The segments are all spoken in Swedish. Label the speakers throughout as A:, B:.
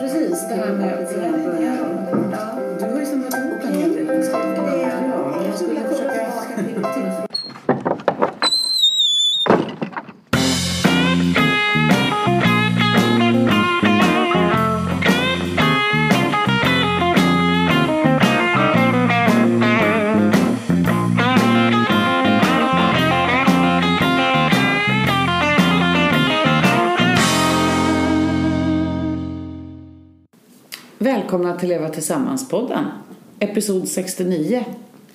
A: han när jag började börja. Du har ju samma bok han heter. Ska jag inte börja? Jag skulle försöka...
B: Välkomna till Leva Tillsammans-podden. Episod 69.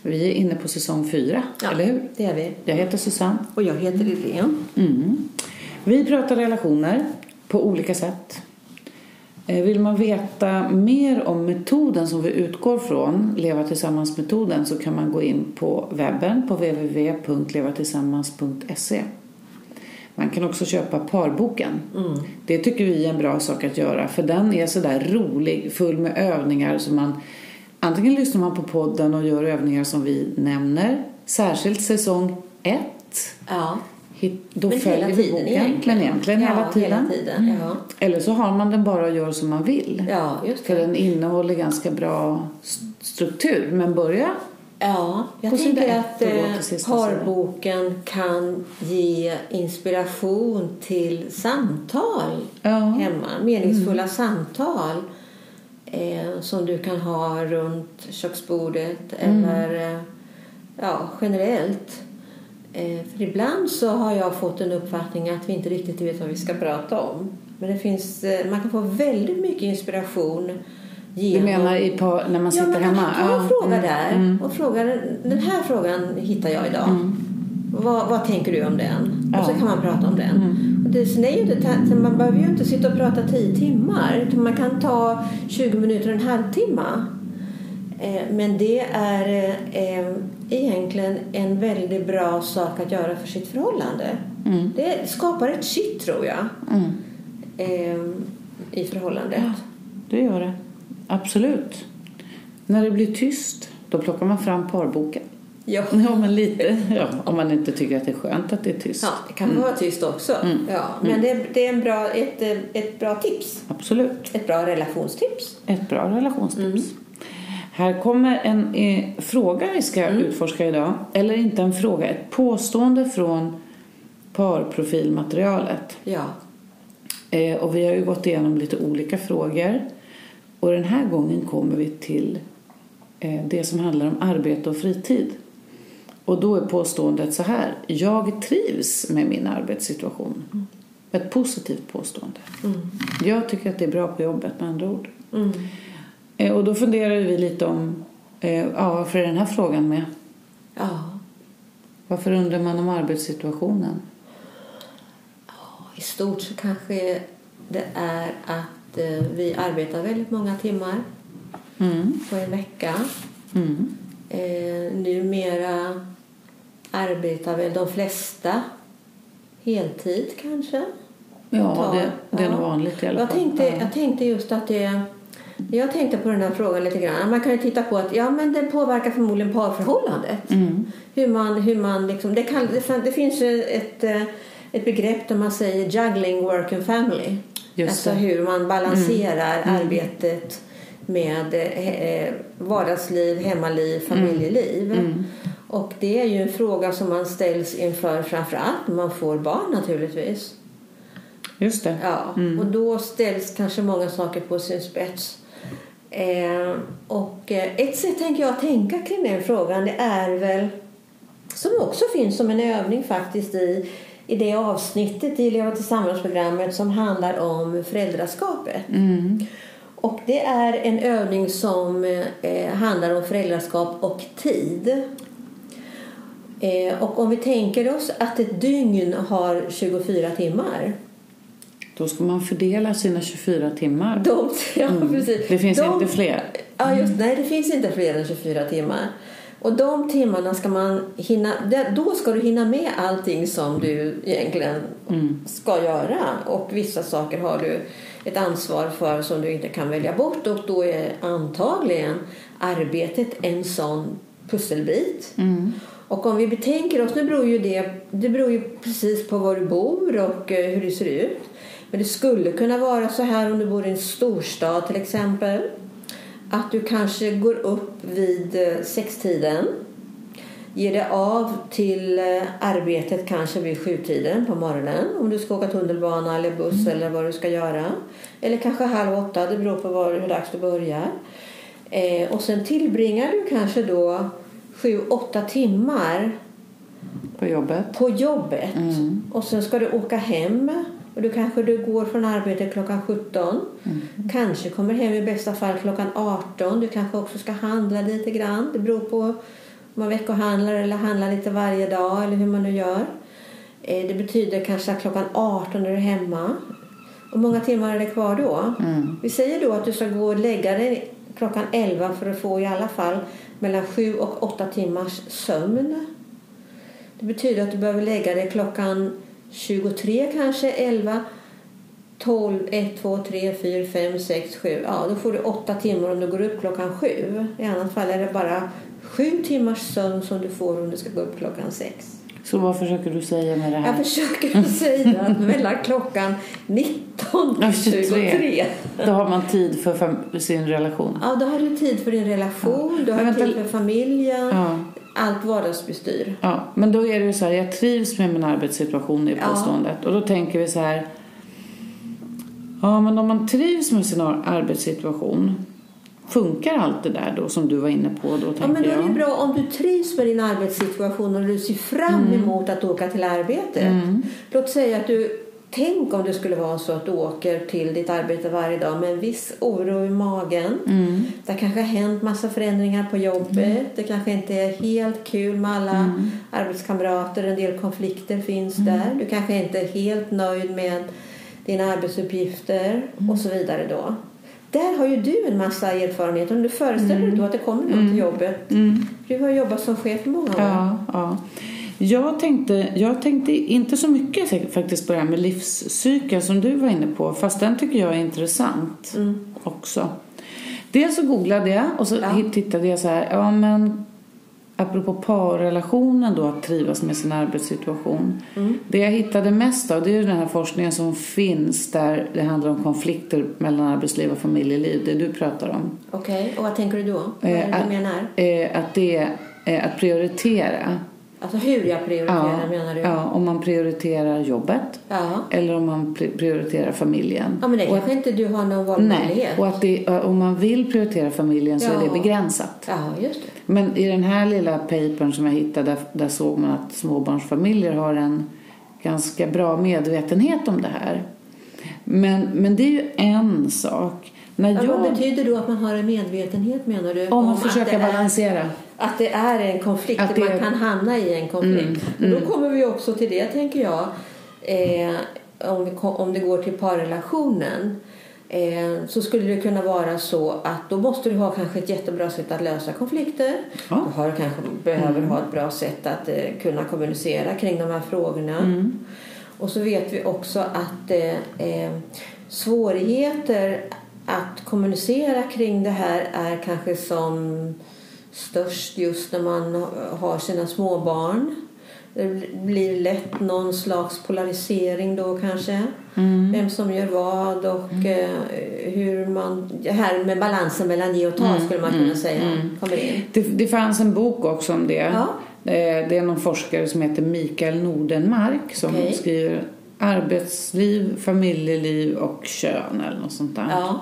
B: Vi är inne på säsong 4, eller hur?
A: Det är vi.
B: Jag heter Susanne.
A: Och jag heter Irene.
B: Mm. Vi pratar relationer på olika sätt. Eh, Vill man veta mer om metoden som vi utgår från, Leva Tillsammans-metoden, så kan man gå in på webben på www.levatillsammans.se. Man kan också köpa parboken. Det tycker vi är en bra sak att göra för den är sådär rolig, full med övningar som man antingen lyssnar man på podden och gör övningar som vi nämner, särskilt säsong 1
A: Ja.
B: Hit, då
A: Men hela
B: följer vi
A: tiden
B: boken.
A: egentligen.
B: Men egentligen
A: Ja,
B: hela tiden.
A: hela tiden, Mm. ja.
B: Eller så har man den bara och gör som man vill.
A: Ja, just
B: För
A: det.
B: den innehåller ganska bra st- struktur. Men börja.
A: Ja, jag
B: Och så där,
A: tänker att
B: då går
A: eh,
B: till sista
A: parboken kan ge inspiration till samtal
B: Ja. Mm.
A: hemma. Meningsfulla samtal eh, som du kan ha runt köksbordet
B: Mm.
A: eller eh, ja, generellt. Eh, för ibland så har jag fått en uppfattning att vi inte riktigt vet vad vi ska prata om. Men det finns, eh, man kan få väldigt mycket inspiration
B: Du
A: genom
B: menar i par, när man
A: Ja,
B: sitter
A: man kan
B: hemma?
A: ta en fråga
B: mm,
A: där
B: mm.
A: och fråga den här frågan hittar jag idag. Vad, vad tänker du om den? Och så
B: Ja. Mm.
A: kan man prata om den. Och det, sen är ju inte, ta- sen man behöver ju inte sitta och prata 10 timmar. utan Man kan ta 20 minuter och en halvtimme. Eh, Men det är eh, eh, egentligen en väldigt bra sak att göra för sitt förhållande. Det skapar ett kitt tror jag
B: Mm.
A: eh, i förhållandet.
B: Det gör det. Absolut. När det blir tyst, då plockar man fram parboken.
A: Ja.
B: Ja, men lite. Ja, om man inte tycker att det är skönt att det är tyst.
A: Ja, det kan vara tyst också. Ja, men det, det är en bra, ett, eh, ett bra tips.
B: Absolut.
A: Ett bra relationstips.
B: Ett bra relationstips. Här kommer en eh, fråga vi ska utforska idag. Eller inte en fråga, ett påstående från parprofilmaterialet.
A: Ja.
B: Eh, och vi har ju gått igenom lite olika frågor. Och den här gången kommer vi till eh, det som handlar om arbete och fritid. Och då är påståendet så här. Jag trivs med min arbetssituation. Ett positivt påstående.
A: Mm.
B: Jag tycker att det är bra på jobbet med andra ord. Eh, och då funderar vi lite om eh, ja, varför är den här frågan med?
A: ja.
B: Varför undrar man om arbetssituationen?
A: I stort så kanske det är att eh, vi arbetar väldigt många timmar
B: Mm.
A: på en vecka.
B: Mm.
A: Eh, numera arbetar väl de flesta heltid kanske.
B: Ja,
A: Ta-
B: det, det är
A: ja.
B: nog vanligt i alla
A: jag
B: fall.
A: tänkte,
B: Ja.
A: jag tänkte just att det... Jag tänkte på den här frågan lite grann. Man kan ju titta på att ja, men det påverkar förmodligen parförhållandet.
B: Mm.
A: Hur man, hur man liksom, det, kan, det, fin- det finns ju ett, eh, ett begrepp där man säger juggling work and family.
B: Just
A: alltså
B: det. Mm.
A: hur man balanserar arbetet med eh, eh, vardagsliv, hemmaliv,
B: Mm.
A: familjeliv. Och det är ju en fråga som man ställs inför framförallt när man får barn naturligtvis.
B: Just det. Mm.
A: Ja, och då ställs kanske många saker på sin spets. Eh, och eh, ett sätt tänker jag tänka kring den frågan det är väl som också finns som en övning faktiskt i, i det avsnittet i Leva tillsammans-programmet som handlar om föräldraskapet.
B: Mm.
A: Och det är en övning som eh, handlar om föräldraskap och tid. Eh, och om vi tänker oss att ett dygn har 24 timmar
B: Då ska man fördela sina 24 timmar.
A: De, ja, precis.
B: Mm. Det finns
A: de,
B: inte fler.
A: Ja, just, nej, det finns inte fler än 24 timmar. Och de timmarna ska man hinna, där- då ska du hinna med allting som du egentligen ska göra. Och vissa saker har du ett ansvar för som du inte kan välja bort. Och då är antagligen arbetet en sån pusselbit. Och om vi betänker oss, nu beror ju det, det beror ju precis på var du bor och eh, hur det ser ut. Men det skulle kunna vara så här om du bor i en storstad till exempel. Att du kanske går upp vid eh, sextiden. Ger dig av till eh, arbetet kanske vid sjutiden på morgonen om du ska åka tunnelbana eller buss eller vad du ska göra. Eller kanske halv åtta, det beror på var, hur dags du börjar. Eh, och sen tillbringar du kanske då sju, åtta timmar
B: på jobbet.
A: på jobbet och sen ska du åka hem och då kanske du går från arbetet klockan 17. Kanske kommer hem i bästa fall klockan 18. Du kanske också ska handla lite grann. Det beror på om man veckohandlar eller handlar lite varje dag eller hur man nu gör. Eh, Det betyder kanske att klockan 18 är du hemma. Och många timmar är det kvar då? Vi säger då att du ska gå och lägga dig klockan 11 för att få i alla fall mellan 7 och 8 timmars sömn. Det betyder att du behöver lägga dig klockan 23 kanske, 11, 12, 1, 2, 3, 4, 5, 6, 7. Ja, då får du 8 timmar om du går upp klockan 7. I annat fall är det bara 7 timmars sömn som du får om du ska gå upp klockan 6.
B: Så vad försöker du säga med det
A: Jag
B: här?
A: försöker säga att mellan klockan 19
B: Ja,
A: och 23.
B: Då har man tid för fam- sin relation.
A: Ja, då har du tid för din relation, du har
B: Men vänta-
A: tid för familjen,
B: Ja.
A: allt vardagsbestyr.
B: Ja, men då är det ju så här, jag trivs med min arbetssituation i påståendet. Och då tänker vi så här, ja men om man trivs med sin ar- arbetssituation, funkar allt det där då som du var inne på då tänker
A: Ja, men då är
B: jag?
A: det bra om du trivs med din arbetssituation och du ser fram
B: Mm.
A: emot att åka till arbetet. Låt säga att du, tänk om det skulle vara så att du åker till ditt arbete varje dag med en viss oro i magen.
B: Mm.
A: Det kanske har hänt massa förändringar på jobbet. Det kanske inte är helt kul med alla
B: Mm.
A: arbetskamrater. En del konflikter finns där. Du kanske inte är helt nöjd med dina arbetsuppgifter och så vidare då. Där har ju du en massa erfarenhet. Om du föreställer
B: Mm.
A: dig då att det kommer någon till jobbet. Du har jobbat som chef i många år.
B: Ja, ja. Jag tänkte, jag tänkte inte så mycket säkert faktiskt på det här med livscykeln som du var inne på, fast den tycker jag är intressant också. Dels så googlade jag och så
A: Ja.
B: hit- tittade jag så här, ja men apropå parrelationen då att trivas med sin arbetssituation. Det jag hittade mest av det är ju den här forskningen som finns där det handlar om konflikter mellan arbetsliv och familjeliv, det du pratar om.
A: Okej, och vad tänker du då? Vad
B: Eh,
A: är det
B: att-
A: du menar?
B: Eh, att det är eh, att prioritera.
A: Alltså hur jag prioriterar menar du?
B: Ja, om man prioriterar jobbet
A: Ja.
B: eller om man pri- prioriterar familjen.
A: Ja, men det
B: och
A: kanske inte du har någon
B: nej,
A: valmöjlighet.
B: och att det, om man vill prioritera familjen så är det
A: Ja.
B: begränsat.
A: Ja, just det.
B: Men i den här lilla papern som jag hittade, där, där såg man att småbarnsfamiljer har en ganska bra medvetenhet om det här. Men, men det är ju en sak. När
A: Ja,
B: jag,
A: Vad betyder då att man har en medvetenhet menar du?
B: om man
A: att
B: försöker
A: det är-
B: balansera.
A: Att det är en konflikt,
B: Att
A: att
B: det- Mm,
A: man kan hamna i en konflikt. Och då kommer vi också till det, tänker jag, eh, om, vi, ko- om det går till parrelationen. Eh, så skulle det kunna vara så att då måste du ha kanske ett jättebra sätt att lösa konflikter.
B: Ja. Mm.
A: Du har, kanske behöver ha ett bra sätt att eh, kunna kommunicera kring de här frågorna.
B: Mm.
A: Och så vet vi också att eh, eh, svårigheter att kommunicera kring det här är kanske som störst just när man har sina småbarn. Det blir lätt någon slags polarisering då kanske. Vem som gör vad och eh, hur man... Det här med balansen mellan ge och ta skulle man kunna säga kommer in.
B: Det, det fanns en bok också om det.
A: Ja.
B: Eh, Det är någon forskare som heter Mikael Nordenmark som
A: Okej.
B: skriver arbetsliv, familjeliv och kön eller något sånt där.
A: Ja.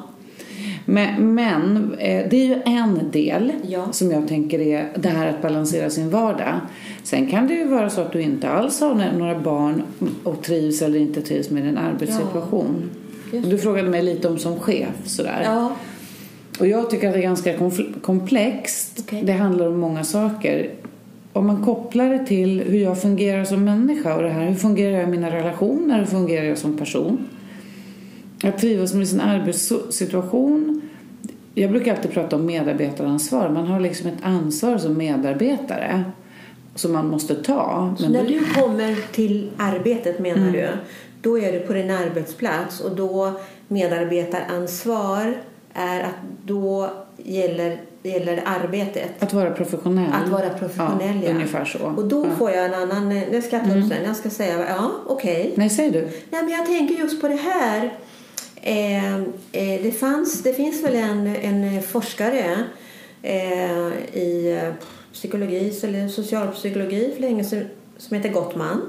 B: Men, men eh, det är ju en del
A: Ja.
B: som jag tänker är det här att balansera sin vardag. Sen kan det ju vara så att du inte alls har nä- några barn och trivs eller inte trivs med din arbetssituation.
A: Just
B: Du frågade mig lite om som chef sådär.
A: Ja.
B: Och jag tycker att det är ganska konfl- komplext.
A: Okej.
B: Det handlar om många saker. Om man kopplar det till hur jag fungerar som människa och det här, hur fungerar jag i mina relationer, hur fungerar jag som person? Jag trivs med sin arbetssituation. Jag brukar alltid prata om medarbetaransvar. Man har liksom ett ansvar som medarbetare som man måste ta.
A: Så
B: Men
A: när
B: det-
A: du kommer till arbetet menar du, då är du på din arbetsplats och då medarbetaransvar är att då gäller, gäller arbetet.
B: Att vara professionell.
A: Att vara professionell,
B: ja.
A: ja.
B: Ungefär så.
A: Och då
B: ja.
A: får jag en annan... Det ska jag ta upp sen. Jag ska säga, ja, okej.
B: Nej, säg du.
A: Nej, men jag tänker just på det här. Eh, eh, det, fanns, det finns väl en, en forskare eh, i eh, psykologi eller socialpsykologi för länge sedan som heter Gottman.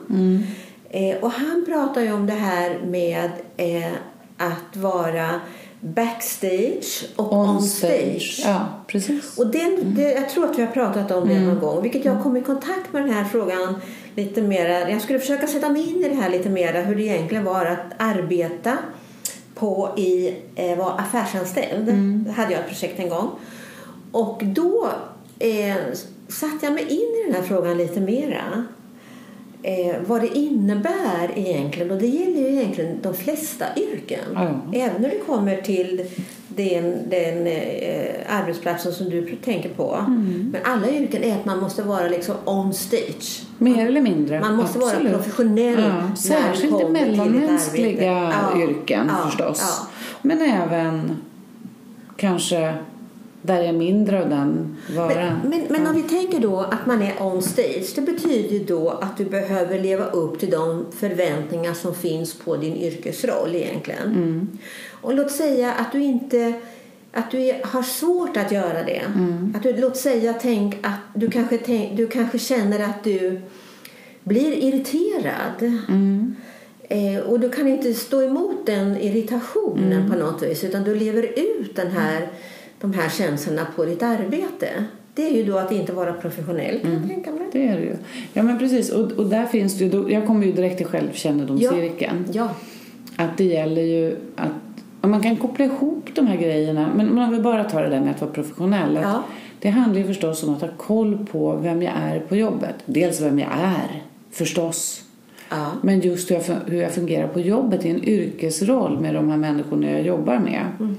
A: Eh, och han pratar ju om det här med eh, att vara backstage och on, stage.
B: Ja, precis.
A: Och den, det, jag tror att vi har pratat om det någon gång, vilket jag kom i kontakt med den här frågan lite mera. Jag skulle försöka sätta mig in i det här lite mera, hur det egentligen var att arbeta på i, eh, vara affärsanställd. Det hade jag ett projekt en gång. Och då eh, satte jag mig in i den här frågan lite mera. Eh, vad det innebär egentligen, och det gäller ju egentligen de flesta yrken.
B: Ja.
A: Även när det kommer till den, den eh, arbetsplatsen som du tänker på. Men alla yrken är att man måste vara liksom on stage.
B: Mer eller mindre.
A: Man måste vara
B: absolut.
A: professionell när
B: Ja,
A: det
B: särskilt i
A: kommer till ditt
B: mellanmänskliga
A: arbete. Ja,
B: yrken
A: ja,
B: förstås.
A: ja.
B: Men även kanske där jag är mindre av den varan.
A: Men, men, men om vi tänker då att man är on stage, det betyder ju då att du behöver leva upp till de förväntningar som finns på din yrkesroll egentligen. Och låt säga att du inte att du är, har svårt att göra det. Att du, låt säga tänk att du kanske, tänk, du kanske känner att du blir irriterad. Eh, och du kan inte stå emot den irritationen på något vis utan du lever ut den här, de här känslorna på ditt arbete. Det är ju då att inte vara professionell kan jag tänka mig.
B: Det är det ju. Ja men precis och, och där finns det ju, då- jag kommer ju direkt till självkännedomscirkeln.
A: Ja.
B: Att det gäller ju att ja, man kan koppla ihop de här grejerna men men om vi bara tar det där med att vara professionell. att
A: Ja.
B: Det handlar ju förstås om att ha koll på vem jag är på jobbet. Dels vem jag är förstås.
A: Ja.
B: Men just hur jag, fun- hur jag fungerar på jobbet i en yrkesroll med de här människorna jag jobbar med.
A: Mm.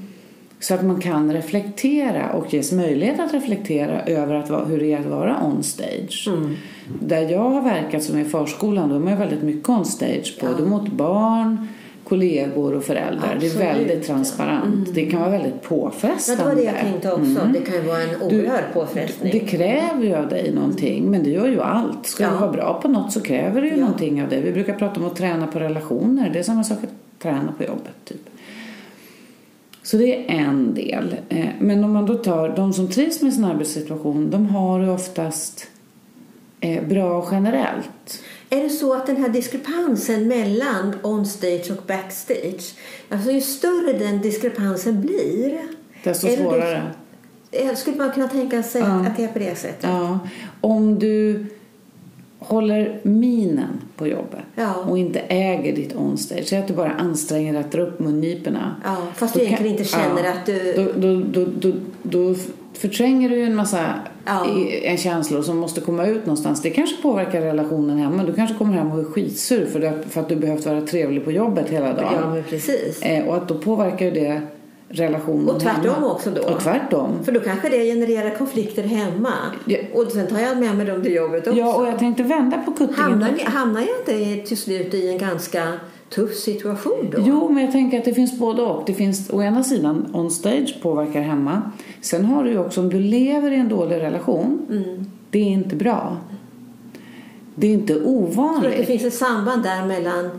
B: Så att man kan reflektera och ges möjlighet att reflektera över att, va- hur det är att vara on stage.
A: Mm.
B: Där jag har verkat som i förskolan, då är man ju väldigt mycket on stage. Både mot barn, kollegor och föräldrar. Det är
A: Absolut,
B: väldigt transparent. Det kan vara väldigt
A: Ja,
B: påfrestande.
A: det var det jag tänkte också. Det kan ju vara en oerhörd påfrestning.
B: Det kräver ju av dig någonting, men det gör ju allt. Ska du
A: Ja.
B: vara bra på något så kräver det ju någonting av dig. Vi brukar prata om att träna på relationer. Det är samma sak att träna på jobbet, typ. Så det är en del. Eh, Men om man då tar de som trivs med sin arbetssituation, de har ju oftast eh, bra generellt.
A: Är det så att den här diskrepansen mellan on stage och backstage, alltså ju större den diskrepansen blir,
B: Desto
A: är det
B: svårare.
A: eh, skulle man kunna tänka sig att det är på det sättet?
B: Ja, om du håller minen på jobbet
A: Ja.
B: och inte äger ditt onstage. Säg att du bara anstränger dig att dra upp mungiporna.
A: Ja, fast du
B: Då kan-
A: egentligen inte känner att du-
B: Då, då, då, då, då förtränger du ju en massa
A: Ja.
B: i- en känslor som måste komma ut någonstans. Det kanske påverkar relationen hemma. Du kanske kommer hem och är skitsur för, du, för att du behövt vara trevlig på jobbet hela dagen.
A: Ja, men precis.
B: Eh, och att då påverkar ju det relationen
A: Och tvärtom
B: hemma.
A: också då.
B: Och tvärtom.
A: För då kanske det genererar konflikter hemma.
B: Ja.
A: Och sen tar jag med mig dem till jobbet också.
B: Ja, och jag tänkte vända på kuttingen
A: hamnar, ni- hamnar jag inte i- till slut i en ganska tuff situation då?
B: Jo, men jag tänker att det finns både och. Det finns å ena sidan on stage påverkar hemma. Sen har du ju också om du lever i en dålig relation.
A: Mm.
B: Det är inte bra. Det är inte
A: Jag tror att det
B: ovanligt.
A: finns ett samband där mellan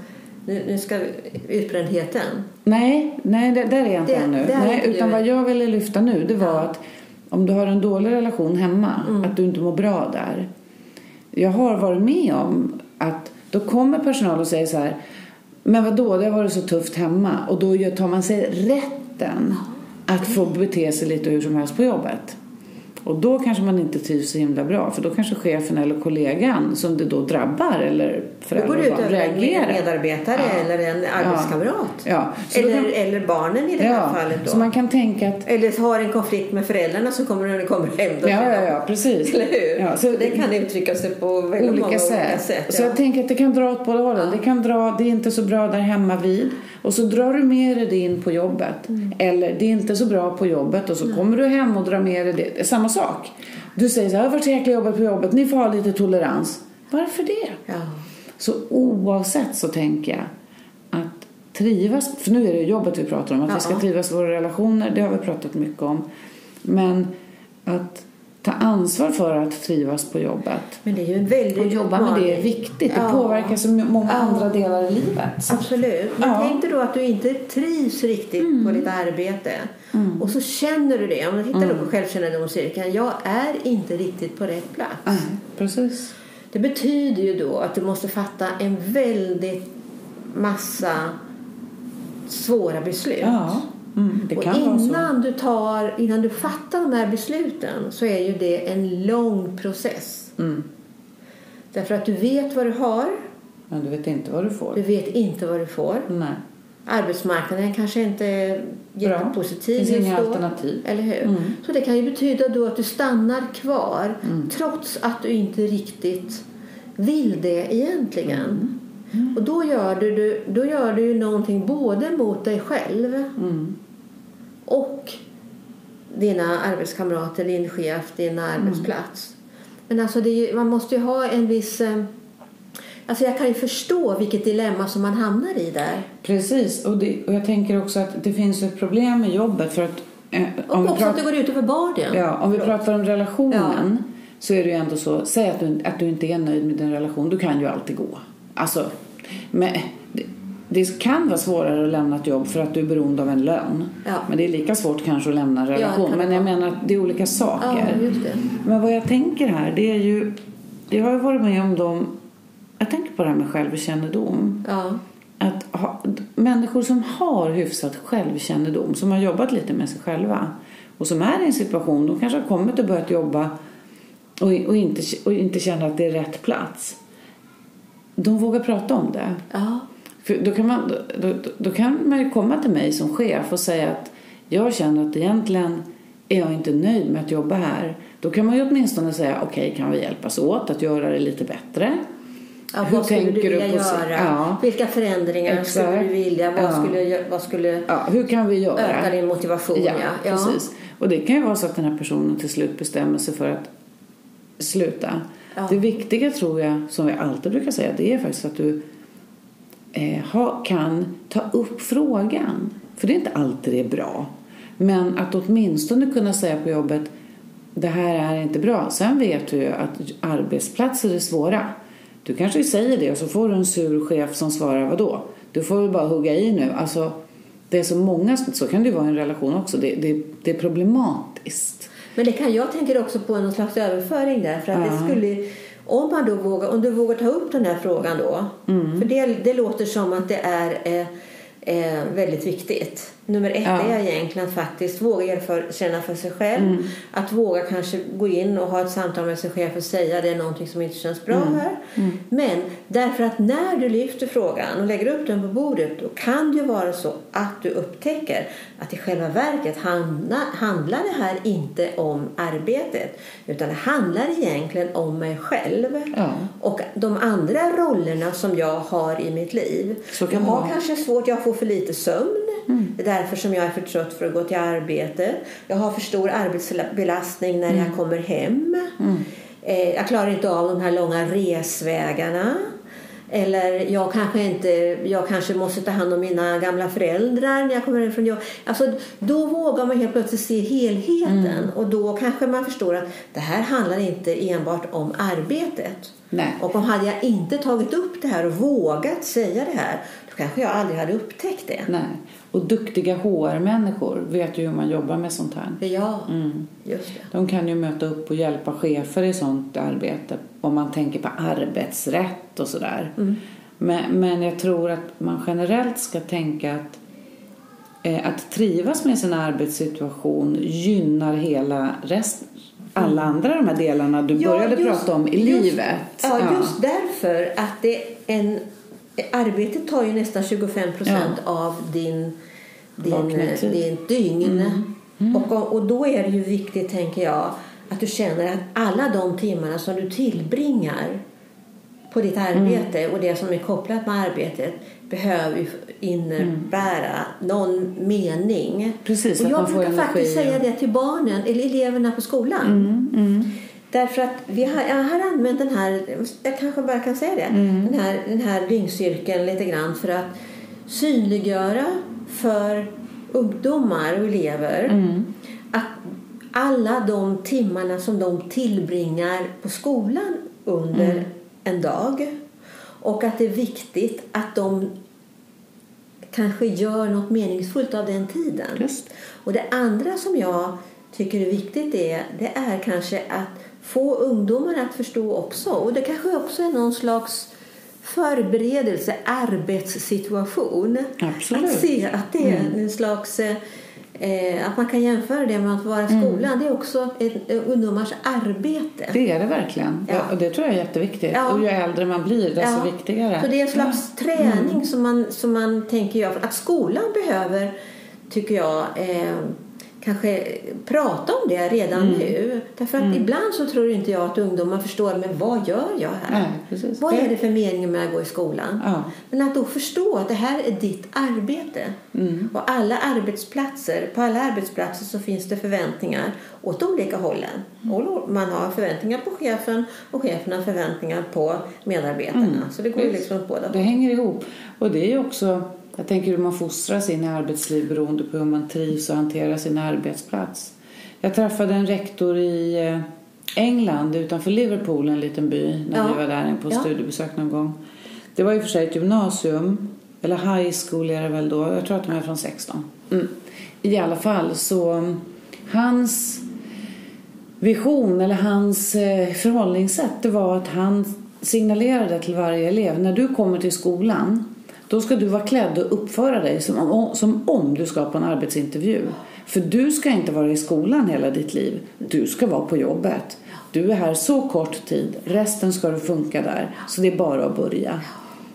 A: nu, nu ska vi- utbrändheten.
B: Nej, nej, det, där är jag inte
A: Det-
B: ännu.
A: där är
B: Nej,
A: inte
B: utan
A: du.
B: vad jag ville lyfta nu det var att om du har en dålig relation hemma,
A: Mm.
B: att du inte mår bra där. Jag har varit med om att då kommer personal och säger så här men vadå, det har varit så tufft hemma och då gör- tar man sig rätten att få bete sig lite hur som helst på jobbet. Och då kanske man inte trivs så himla bra för då kanske chefen eller kollegan som det då drabbar eller
A: Då
B: föräldrar
A: går det ut
B: och barn
A: över en
B: reagerar.
A: medarbetare eller en arbetskamrat.
B: Ja. Så då
A: Eller,
B: kan-
A: eller barnen i det här fallet då.
B: så man kan tänka att...
A: Eller har en konflikt med föräldrarna som kommer när de kommer hem. Då
B: Ja, ja, ja, precis.
A: Eller hur?
B: Ja, så
A: det kan uttrycka sig på väldigt många
B: olika
A: olika
B: sätt.
A: sätt.
B: Så
A: ja.
B: jag tänker att det kan dra åt båda hållen. Det kan dra, det är inte så bra där hemma vid. Och så drar du med dig det in på jobbet.
A: Mm.
B: Eller det är inte så bra på jobbet och så kommer du hem och drar med dig det. det. är Samma sak. Du säger så här, "Jag har varit så jäkla jobbigt på jobbet, ni får ha lite tolerans. Varför det?
A: ja.
B: Så oavsett så tänker jag att trivas, för nu är det jobbet vi pratar om, att vi ska
A: Ja.
B: trivas i våra relationer, det har vi pratat mycket om. Men att ta ansvar för att trivas på jobbet
A: Men det är ju en väldigt
B: och jobba med det är viktigt. Det
A: Ja.
B: påverkar så många
A: Ja.
B: andra delar i livet.
A: Absolut. Men
B: Ja. Mm.
A: tänk dig då att du inte trivs riktigt på ditt arbete. Och så känner du det. Om du
B: Mm.
A: tittar då på självkännedomscirkeln. Jag är inte riktigt på rätt plats.
B: Nej, Precis.
A: Det betyder ju då att du måste fatta en väldigt massa svåra beslut.
B: Ja, mm, det
A: och
B: kan vara så.
A: innan du, tar, innan du fattar de här besluten så är ju det en lång process.
B: Mm.
A: Därför att du vet vad du har,
B: Men du vet inte vad du får.
A: du vet inte vad du får.
B: Nej.
A: Arbetsmarknaden kanske inte är jättepositiv
B: Finns
A: just
B: inga
A: då.
B: alternativ.
A: Eller hur?
B: Mm.
A: Så det kan ju betyda då att du stannar kvar trots att du inte riktigt vill det egentligen.
B: Mm.
A: Och då gör, du- du, då gör du ju någonting både mot dig själv
B: Mm.
A: och dina arbetskamrater, din chef, din
B: Mm.
A: arbetsplats. Men alltså det är ju, man måste ju ha en viss... eh, Alltså jag kan ju förstå vilket dilemma som man hamnar i där.
B: Precis, och, det, och jag tänker också att det finns ett problem med jobbet för att eh,
A: Och
B: om, vi
A: också att det
B: pratar,
A: går ut över barnen.
B: ja, om vi
A: Förlåt.
B: pratar om relationen så är det ju ändå så, säg att du, att du inte är nöjd med din relation, du kan ju alltid gå. Alltså, men, det, det kan vara svårare att lämna ett jobb för att du är beroende av en lön.
A: Ja.
B: Men det är lika svårt kanske att lämna en
A: det
B: relation.
A: kan det
B: men jag
A: vara.
B: menar att det är olika saker.
A: Ja, just det.
B: Men vad jag tänker här, det är ju... Jag har ju varit med om de... Jag tänker på det här med självkännedom.
A: Ja.
B: Att ha, människor som har hyfsat självkännedom, som har jobbat lite med sig själva och som är i en situation, de kanske har kommit och börjat jobba och, och, inte, och inte känner att det är rätt plats. De vågar prata om det.
A: Ja.
B: För då, kan man, då, då, då kan man ju komma till mig som chef och säga att jag känner att egentligen är jag inte nöjd med att jobba här. Då kan man ju åtminstone säga okej, kan vi hjälpas åt att göra det lite bättre?
A: Ja, vad skulle du vilja
B: si-
A: göra?
B: Ja.
A: Vilka förändringar skulle
B: Exakt.
A: du vilja? Vad
B: Ja.
A: skulle, gö- vad skulle
B: ja, hur kan vi göra?
A: öka din motivation?
B: Ja, precis. Och det kan ju vara så att den här personen till slut bestämmer sig för att sluta.
A: Ja.
B: Det viktiga tror jag, som jag alltid brukar säga, det är faktiskt att du eh, ha, kan ta upp frågan. För det är inte alltid det är bra. Men att åtminstone kunna säga på jobbet det här är inte bra. Sen vet du ju att arbetsplatser är svåra. Du kanske säger det och så får du en sur chef som svarar vadå? Du får väl bara hugga i nu. Alltså, det är så många, så kan det ju vara i en relation också. Det, det, det är problematiskt.
A: Men det kan, jag tänker också på någon slags överföring där. För att det
B: Ja.
A: skulle, om, man då vågar, om du vågar ta upp den här frågan då.
B: Mm.
A: För det, det låter som att det är eh, eh, väldigt viktigt. Nummer ett
B: Ja.
A: är egentligen att faktiskt våga för, känna för sig själv.
B: Mm.
A: Att våga kanske gå in och ha ett samtal med sin chef och säga det är någonting som inte känns bra
B: Mm.
A: här. Men därför att när du lyfter frågan och lägger upp den på bordet då kan det ju vara så att du upptäcker att i själva verket handla, handlar det här inte om arbetet utan det handlar egentligen om mig själv
B: Ja.
A: och de andra rollerna som jag har i mitt liv.
B: Så kan
A: jag
B: det
A: har
B: vara.
A: kanske svårt, jag får för lite sömn. Det är därför som jag är för trött för att gå till arbete. Jag har för stor arbetsbelastning när jag kommer hem. Eh, jag klarar inte av de här långa resvägarna. Eller jag kanske, inte, jag kanske måste ta hand om mina gamla föräldrar när jag kommer hem från jobb. Alltså, då vågar man helt plötsligt se helheten och då kanske man förstår att det här handlar inte enbart om arbetet.
B: Nej.
A: Och om hade jag inte tagit upp det här och vågat säga det här då kanske jag aldrig hade upptäckt det.
B: Nej. Och duktiga HR-människor vet ju hur man jobbar med sånt här.
A: Ja, just det.
B: De kan ju möta upp och hjälpa chefer i sånt arbete om man tänker på arbetsrätt och sådär.
A: Mm.
B: Men, men jag tror att man generellt ska tänka att eh, att trivas med sin arbetssituation gynnar hela rest, alla andra de här delarna du började prata om i
A: Mm. just-
B: livet.
A: Ja, just därför att det är en, arbetet tar ju nästan 25 procent av din, din, eh,
B: Vakna tid. Mm.
A: din dygn. Och, och då är det ju viktigt, tänker jag, att du känner att alla de timmarna som du tillbringar på ditt
B: Mm.
A: arbete och det som är kopplat med arbetet behöver ju innebära någon mening.
B: Mm. Precis,
A: och
B: att
A: jag
B: man får
A: brukar faktiskt
B: energi
A: säga
B: och- Mm.
A: det till barnen, eller eleverna på skolan. Därför att vi har, jag har använt den här, jag kanske bara kan säga det, den här, den här ringcirkeln lite grann för att synliggöra för ungdomar och elever att alla de timmarna som de tillbringar på skolan under en dag. Och att det är viktigt att de kanske gör något meningsfullt av den tiden.
B: Just.
A: Och det andra som jag tycker är viktigt är, det är kanske att få ungdomar att förstå också. Och det kanske också är någon slags förberedelse, arbetssituation.
B: Absolut. Mm.
A: Att se att det är en slags... eh, Eh, att man kan jämföra det med att vara i
B: Mm.
A: skolan. Det är också ett, eh, ungdomars arbete.
B: Det är det verkligen.
A: Ja.
B: Ja. Och det tror jag är jättektigt.
A: Ja.
B: Och ju äldre man blir desto
A: Ja.
B: viktigare. Mm.
A: Så det är en slags träning som, man, som man tänker göra. Att skolan behöver, tycker jag, eh, kanske prata om det redan
B: Mm.
A: nu. Därför att ibland så tror inte jag att ungdomar förstår, men vad gör jag här?
B: Nej, precis.
A: Vad
B: Det-
A: är det för mening med att gå i skolan?
B: Ja.
A: Men att då förstå att det här är ditt arbete.
B: Mm.
A: Och alla arbetsplatser, på alla arbetsplatser så finns det förväntningar åt olika hållen.
B: Mm.
A: Och Man har förväntningar på chefen och chefen har förväntningar på medarbetarna. Så det går ju
B: Mm. Visst.
A: liksom åt båda
B: Det hänger ihop. Och det är ju också, jag tänker hur man fostras in i arbetsliv beroende på hur man trivs och hanterar sin arbetsplats. Jag träffade en rektor i eh, England utanför Liverpool, en liten by, när
A: Ja.
B: vi var där på
A: Ja.
B: studiebesök någon gång. Det var ju för sig ett gymnasium, eller high school är det väl då, jag tror att de är från 16. Mm. I alla fall så, mm, hans vision eller hans eh, förhållningssätt det var att han signalerade till varje elev när du kommer till skolan då ska du vara klädd och uppföra dig som om, som om du ska på en arbetsintervju. För du ska inte vara i skolan hela ditt liv. Du ska vara på jobbet. Du är här så kort tid. Resten ska du funka där. Så det är bara att börja.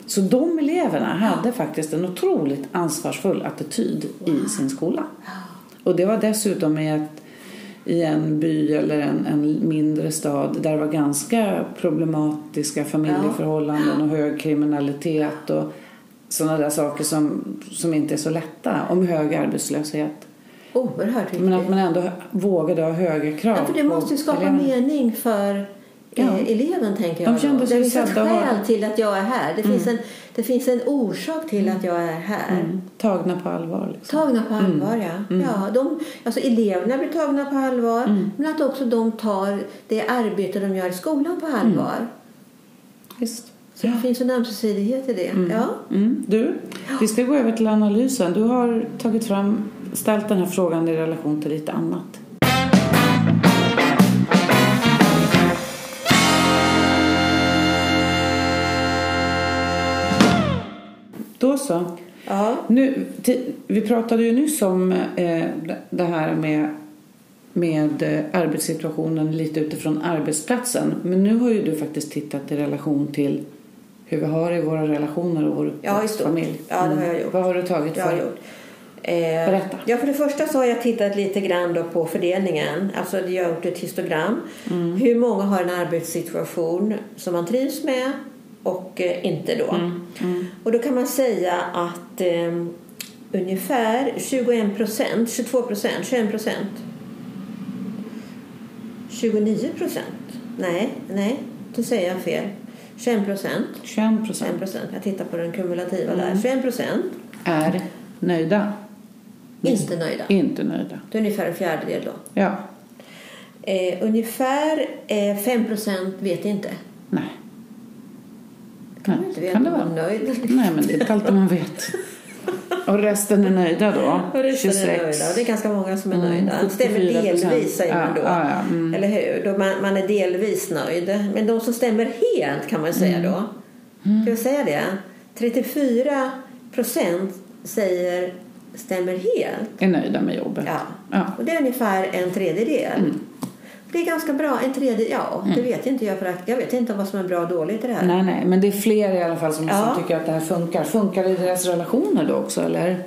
B: Så de eleverna hade faktiskt en otroligt ansvarsfull attityd i sin skola. Och det var dessutom i ett i en by eller en, en mindre stad där det var ganska problematiska familjeförhållanden och hög kriminalitet och sådana där saker som, som inte är så lätta om hög arbetslöshet.
A: Oerhört viktigt.
B: Men att man ändå vågade ha höga krav.
A: ja, för det
B: på
A: måste ju skapa
B: eleverna.
A: mening för
B: Ja.
A: eh, eleven, tänker jag.
B: De kände
A: då.
B: sig
A: det finns ett
B: sedda och
A: skäl
B: hörda.
A: till att jag är här. Det, finns, en, det finns en orsak till att jag är här.
B: Mm, Tagna på allvar. Liksom.
A: Tagna på allvar, ja. ja de, alltså eleverna blir tagna på allvar, men att också de tar det arbete de gör i skolan på allvar.
B: Visst.
A: Så det finns en ömsesidighet i det. Ja.
B: Mm. Du, vi ska gå över till analysen. Du har tagit fram, ställt den här frågan i relation till lite annat. Då så.
A: Ja.
B: Nu, ti- vi pratade ju nyss om eh, det här med, med eh, arbetssituationen lite utifrån arbetsplatsen. Men nu har ju du faktiskt tittat i relation till hur vi har det i våra relationer och vår
A: Ja, i stort.
B: familj.
A: Ja, det har jag
B: Mm.
A: gjort.
B: Vad har du tagit
A: jag
B: för?
A: har gjort. Eh,
B: Berätta.
A: Ja, för det första så har jag tittat lite grann då på fördelningen. Alltså jag har gjort ett histogram. Hur många har en arbetssituation som man trivs med och eh, inte då. Och då kan man säga att eh, ungefär 21 procent, 22 procent, 21 procent. 29 procent. Nej, nej, då säger jag fel. 21 procent.
B: 21
A: 21
B: procent
A: procent. Jag tittar på den kumulativa där. 21 procent.
B: är nöjda.
A: Inte nöjda.
B: Inte nöjda.
A: Det är ungefär en fjärdedel då.
B: Ja.
A: Eh, ungefär eh, 5 vet inte.
B: Nej.
A: Kan,
B: Nej,
A: inte veta
B: kan det
A: om
B: vara.
A: de är nöjd.
B: Nej, men det är inte alltid man vet. Och resten är nöjda då?
A: Och resten
B: 26.
A: är nöjda. Och det är ganska många som är
B: Mm,
A: nöjda. Det stämmer
B: 74%.
A: delvis säger man då.
B: Ja, ja, ja. Mm.
A: Eller hur? Då man, man är delvis nöjd. Men de som stämmer helt kan man säga
B: Mm.
A: då. Ska vi säga det? 34 säger stämmer helt.
B: Är nöjda med jobbet?
A: Ja.
B: ja. Mm.
A: Och det är ungefär en tredjedel. Det är ganska bra. En tredjedel, ja, det vet inte jag. För att jag vet inte vad som är bra och dåligt i det här.
B: Nej, nej, men det är fler i alla fall som,
A: Ja.
B: som tycker att det här funkar. Funkar det i deras relationer då också eller?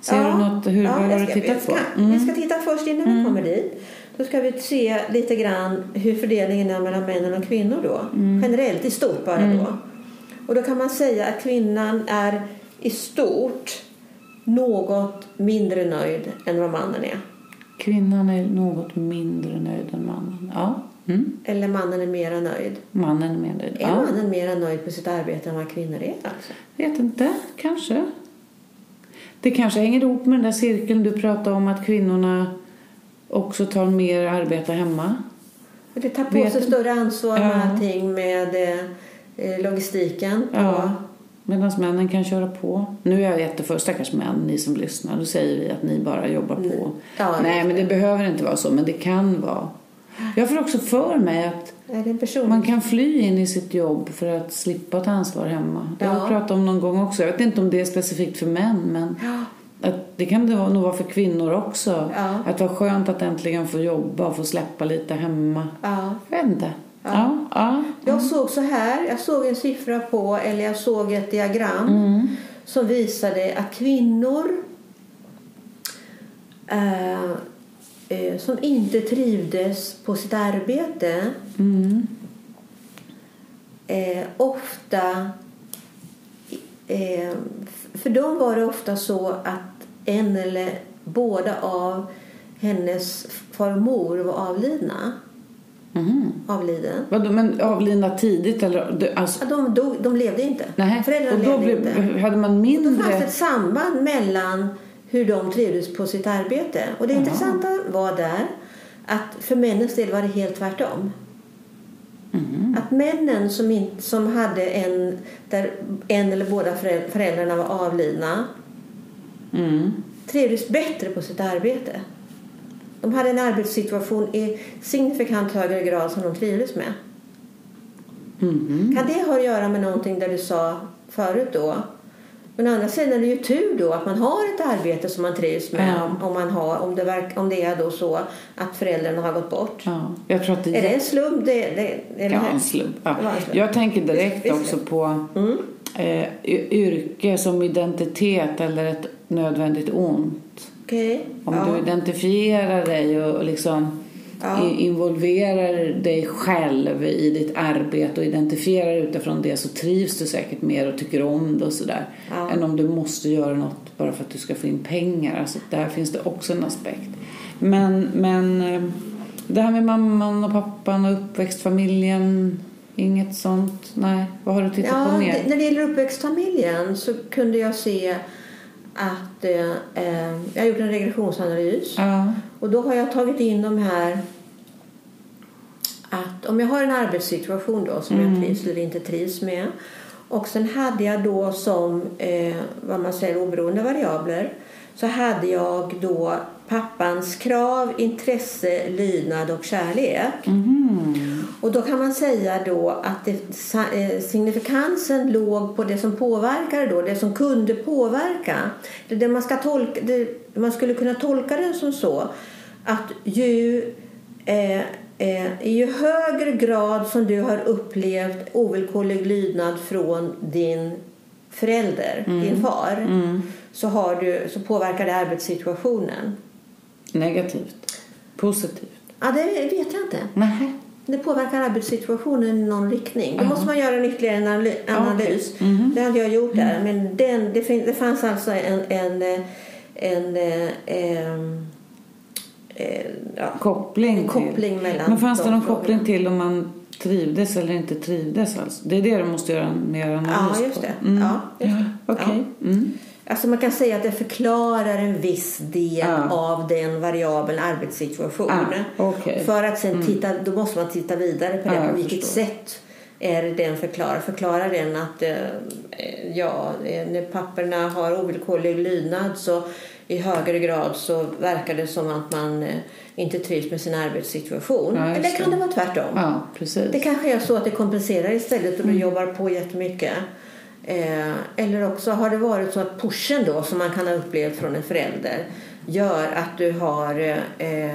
B: Ser du något, hur,
A: ja,
B: vad
A: jag
B: har du
A: ska- vi
B: tittat
A: ska,
B: på? Mm.
A: Vi ska titta först innan vi kommer dit. Då ska vi se lite grann hur fördelningen är mellan männen och kvinnor då.
B: Mm.
A: Generellt i stort bara då. Och då kan man säga att kvinnan är i stort något mindre nöjd än vad mannen är.
B: Kvinnan är något mindre nöjd än mannen. Ja. Mm.
A: Eller mannen är mera nöjd.
B: Mannen är mer nöjd.
A: Är
B: Ja.
A: mannen mera nöjd på sitt arbete än vad kvinnor är? Alltså?
B: Vet inte, kanske. Det kanske hänger ihop med den där cirkeln du pratade om att kvinnorna också tar mer arbete hemma.
A: Det tar på
B: Vet
A: sig
B: du-
A: större ansvar
B: Ja.
A: med allting med eh, eh, logistiken.
B: Ja. Medan männen kan köra på. Nu är jag jättefull, stackars män, ni som lyssnar. Då säger vi att ni bara jobbar på.
A: Ja,
B: Nej,
A: just
B: men Mm. det behöver inte vara så, men det kan vara. Jag får också för mig att
A: Är det en person?
B: man kan fly in i sitt jobb för att slippa ta ansvar hemma. Det har
A: Ja.
B: jag pratat om någon gång också. Jag vet inte om det är specifikt för män, men
A: Ja.
B: att det kan det vara- nog vara för kvinnor också.
A: Ja.
B: Att det var skönt att äntligen få jobba och få släppa lite hemma.
A: Ja.
B: Jag vet inte. Ja. Ja.
A: Jag såg så här, jag såg en siffra på, eller jag såg ett diagram som visade att kvinnor eh, eh, som inte trivdes på sitt arbete eh, ofta... Eh, för dem var det ofta så att en eller båda av hennes farmor var avlidna. Avliden.
B: Mhm. Vadå, men avlidna tidigt eller? det- Alltså,
A: Ja, De, dog, de levde inte.
B: nej.
A: Föräldrarna
B: Och då Mm,
A: levde
B: blev,
A: inte.
B: hade man
A: Det fanns
B: mindre...
A: ett samband mellan hur de trivdes på sitt arbete. Och det intressanta var där att för männens del var det helt tvärtom.
B: Mm.
A: Att männen som, inte, som hade en, där en eller båda föräl- föräldrarna var avlidna
B: Mm.
A: trivdes bättre på sitt arbete. De hade en arbetssituation i signifikant högre grad som de trivdes med.
B: Mhm.
A: Kan det ha att göra med någonting där du sa förut då? Men å andra sidan är det ju tur då att man har ett arbete som man trivs med
B: Ja.
A: om, man har, om, det verk, om det är då så att föräldrarna har gått bort.
B: Ja. Jag tror att det
A: Är det en slump? Det, det, är det
B: Ja,
A: här?
B: en slump. Ja.
A: Det var en slump.
B: Jag tänker
A: Visst, Mm.
B: direkt
A: visst.
B: också på eh, y- yrke som identitet eller ett nödvändigt ont.
A: Okej.
B: Om
A: Ja.
B: du identifierar dig och och liksom
A: Ja.
B: i- involverar dig själv i ditt arbete och identifierar utifrån det så trivs du säkert mer och tycker om det och sådär.
A: Ja.
B: Än om du måste göra något bara för att du ska få in pengar. Alltså, där finns det också en aspekt. Men, men eh, det här med mamman och pappan och uppväxtfamiljen, inget sånt? Nej, vad har du tittat på
A: Ja,
B: mer?
A: det, när det gäller uppväxtfamiljen så kunde jag se att eh, eh, jag har gjort en regressionsanalys.
B: Ja.
A: Och då har jag tagit in de här att om jag har en arbetssituation då som jag trivs eller inte trivs med och sen hade jag då som eh, vad man säger oberoende variabler så hade jag då pappans krav, intresse, lydnad och kärlek. Och då kan man säga då att det, sa- eh, signifikansen låg på det som påverkade då, det som kunde påverka. Det, det man, ska tolka, det, man skulle kunna tolka den som så att ju, eh, eh, i ju högre grad som du har upplevt ovillkorlig lydnad från din förälder, din far, så, har du, så påverkar det arbetssituationen.
B: Negativt? Positivt?
A: Ja, det vet jag inte.
B: Nej.
A: Det påverkar arbetssituationen i någon riktning. Då måste man göra en ytterligare analy- analys. Det hade jag gjort där. Men den, det, fin- det fanns alltså en, en, eh, en, eh, ehm, eh, ja,
B: koppling,
A: En koppling
B: till.
A: mellan
B: Men fanns det
A: de
B: någon
A: frågorna?
B: koppling till om man trivdes eller inte trivdes alltså? Det är det du måste göra en mer analys
A: Ja, just
B: på. Mm.
A: det. Ja, just det.
B: Okej. Mm.
A: Alltså man kan säga att det förklarar en viss del
B: Ja.
A: av den variabeln arbetssituation.
B: Ah, okej.
A: För att sen titta, då måste man titta vidare på
B: Ja,
A: det.
B: jag
A: På vilket
B: förstår.
A: sätt är det den förklarar? Förklarar den att eh, eh, ja, eh, när papperna har ovillkorlig lydnad så i högre grad så verkar det som att man eh, inte trivs med sin arbetssituation.
B: Ja, just
A: Eller kan
B: det.
A: det vara tvärtom?
B: Ja, precis.
A: Det kanske är så att det kompenserar istället och du
B: Mm.
A: jobbar på jättemycket. Eh, eller också har det varit så att pushen då som man kan ha upplevt från en förälder gör att du har eh,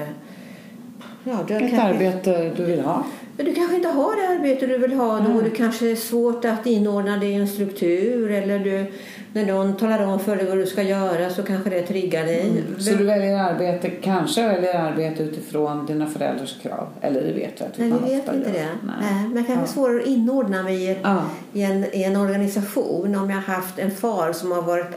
A: ja, du har
B: Ett
A: kanske,
B: arbete du vill ha.
A: Men du kanske inte har det arbete du vill ha
B: Mm.
A: då. Det kanske är svårt att inordna dig i en struktur eller du, när någon talar om för dig vad du ska göra så kanske det triggar dig.
B: Mm. Så du väljer arbete, kanske väljer arbete utifrån dina föräldrars krav. Eller det vet jag att
A: Nej,
B: man
A: vi vet
B: ofta
A: inte
B: gör.
A: det. Nej. men jag kanske är svårare att inordna mig i, ett,
B: Ja.
A: i, en, i en organisation om jag haft en far som har varit,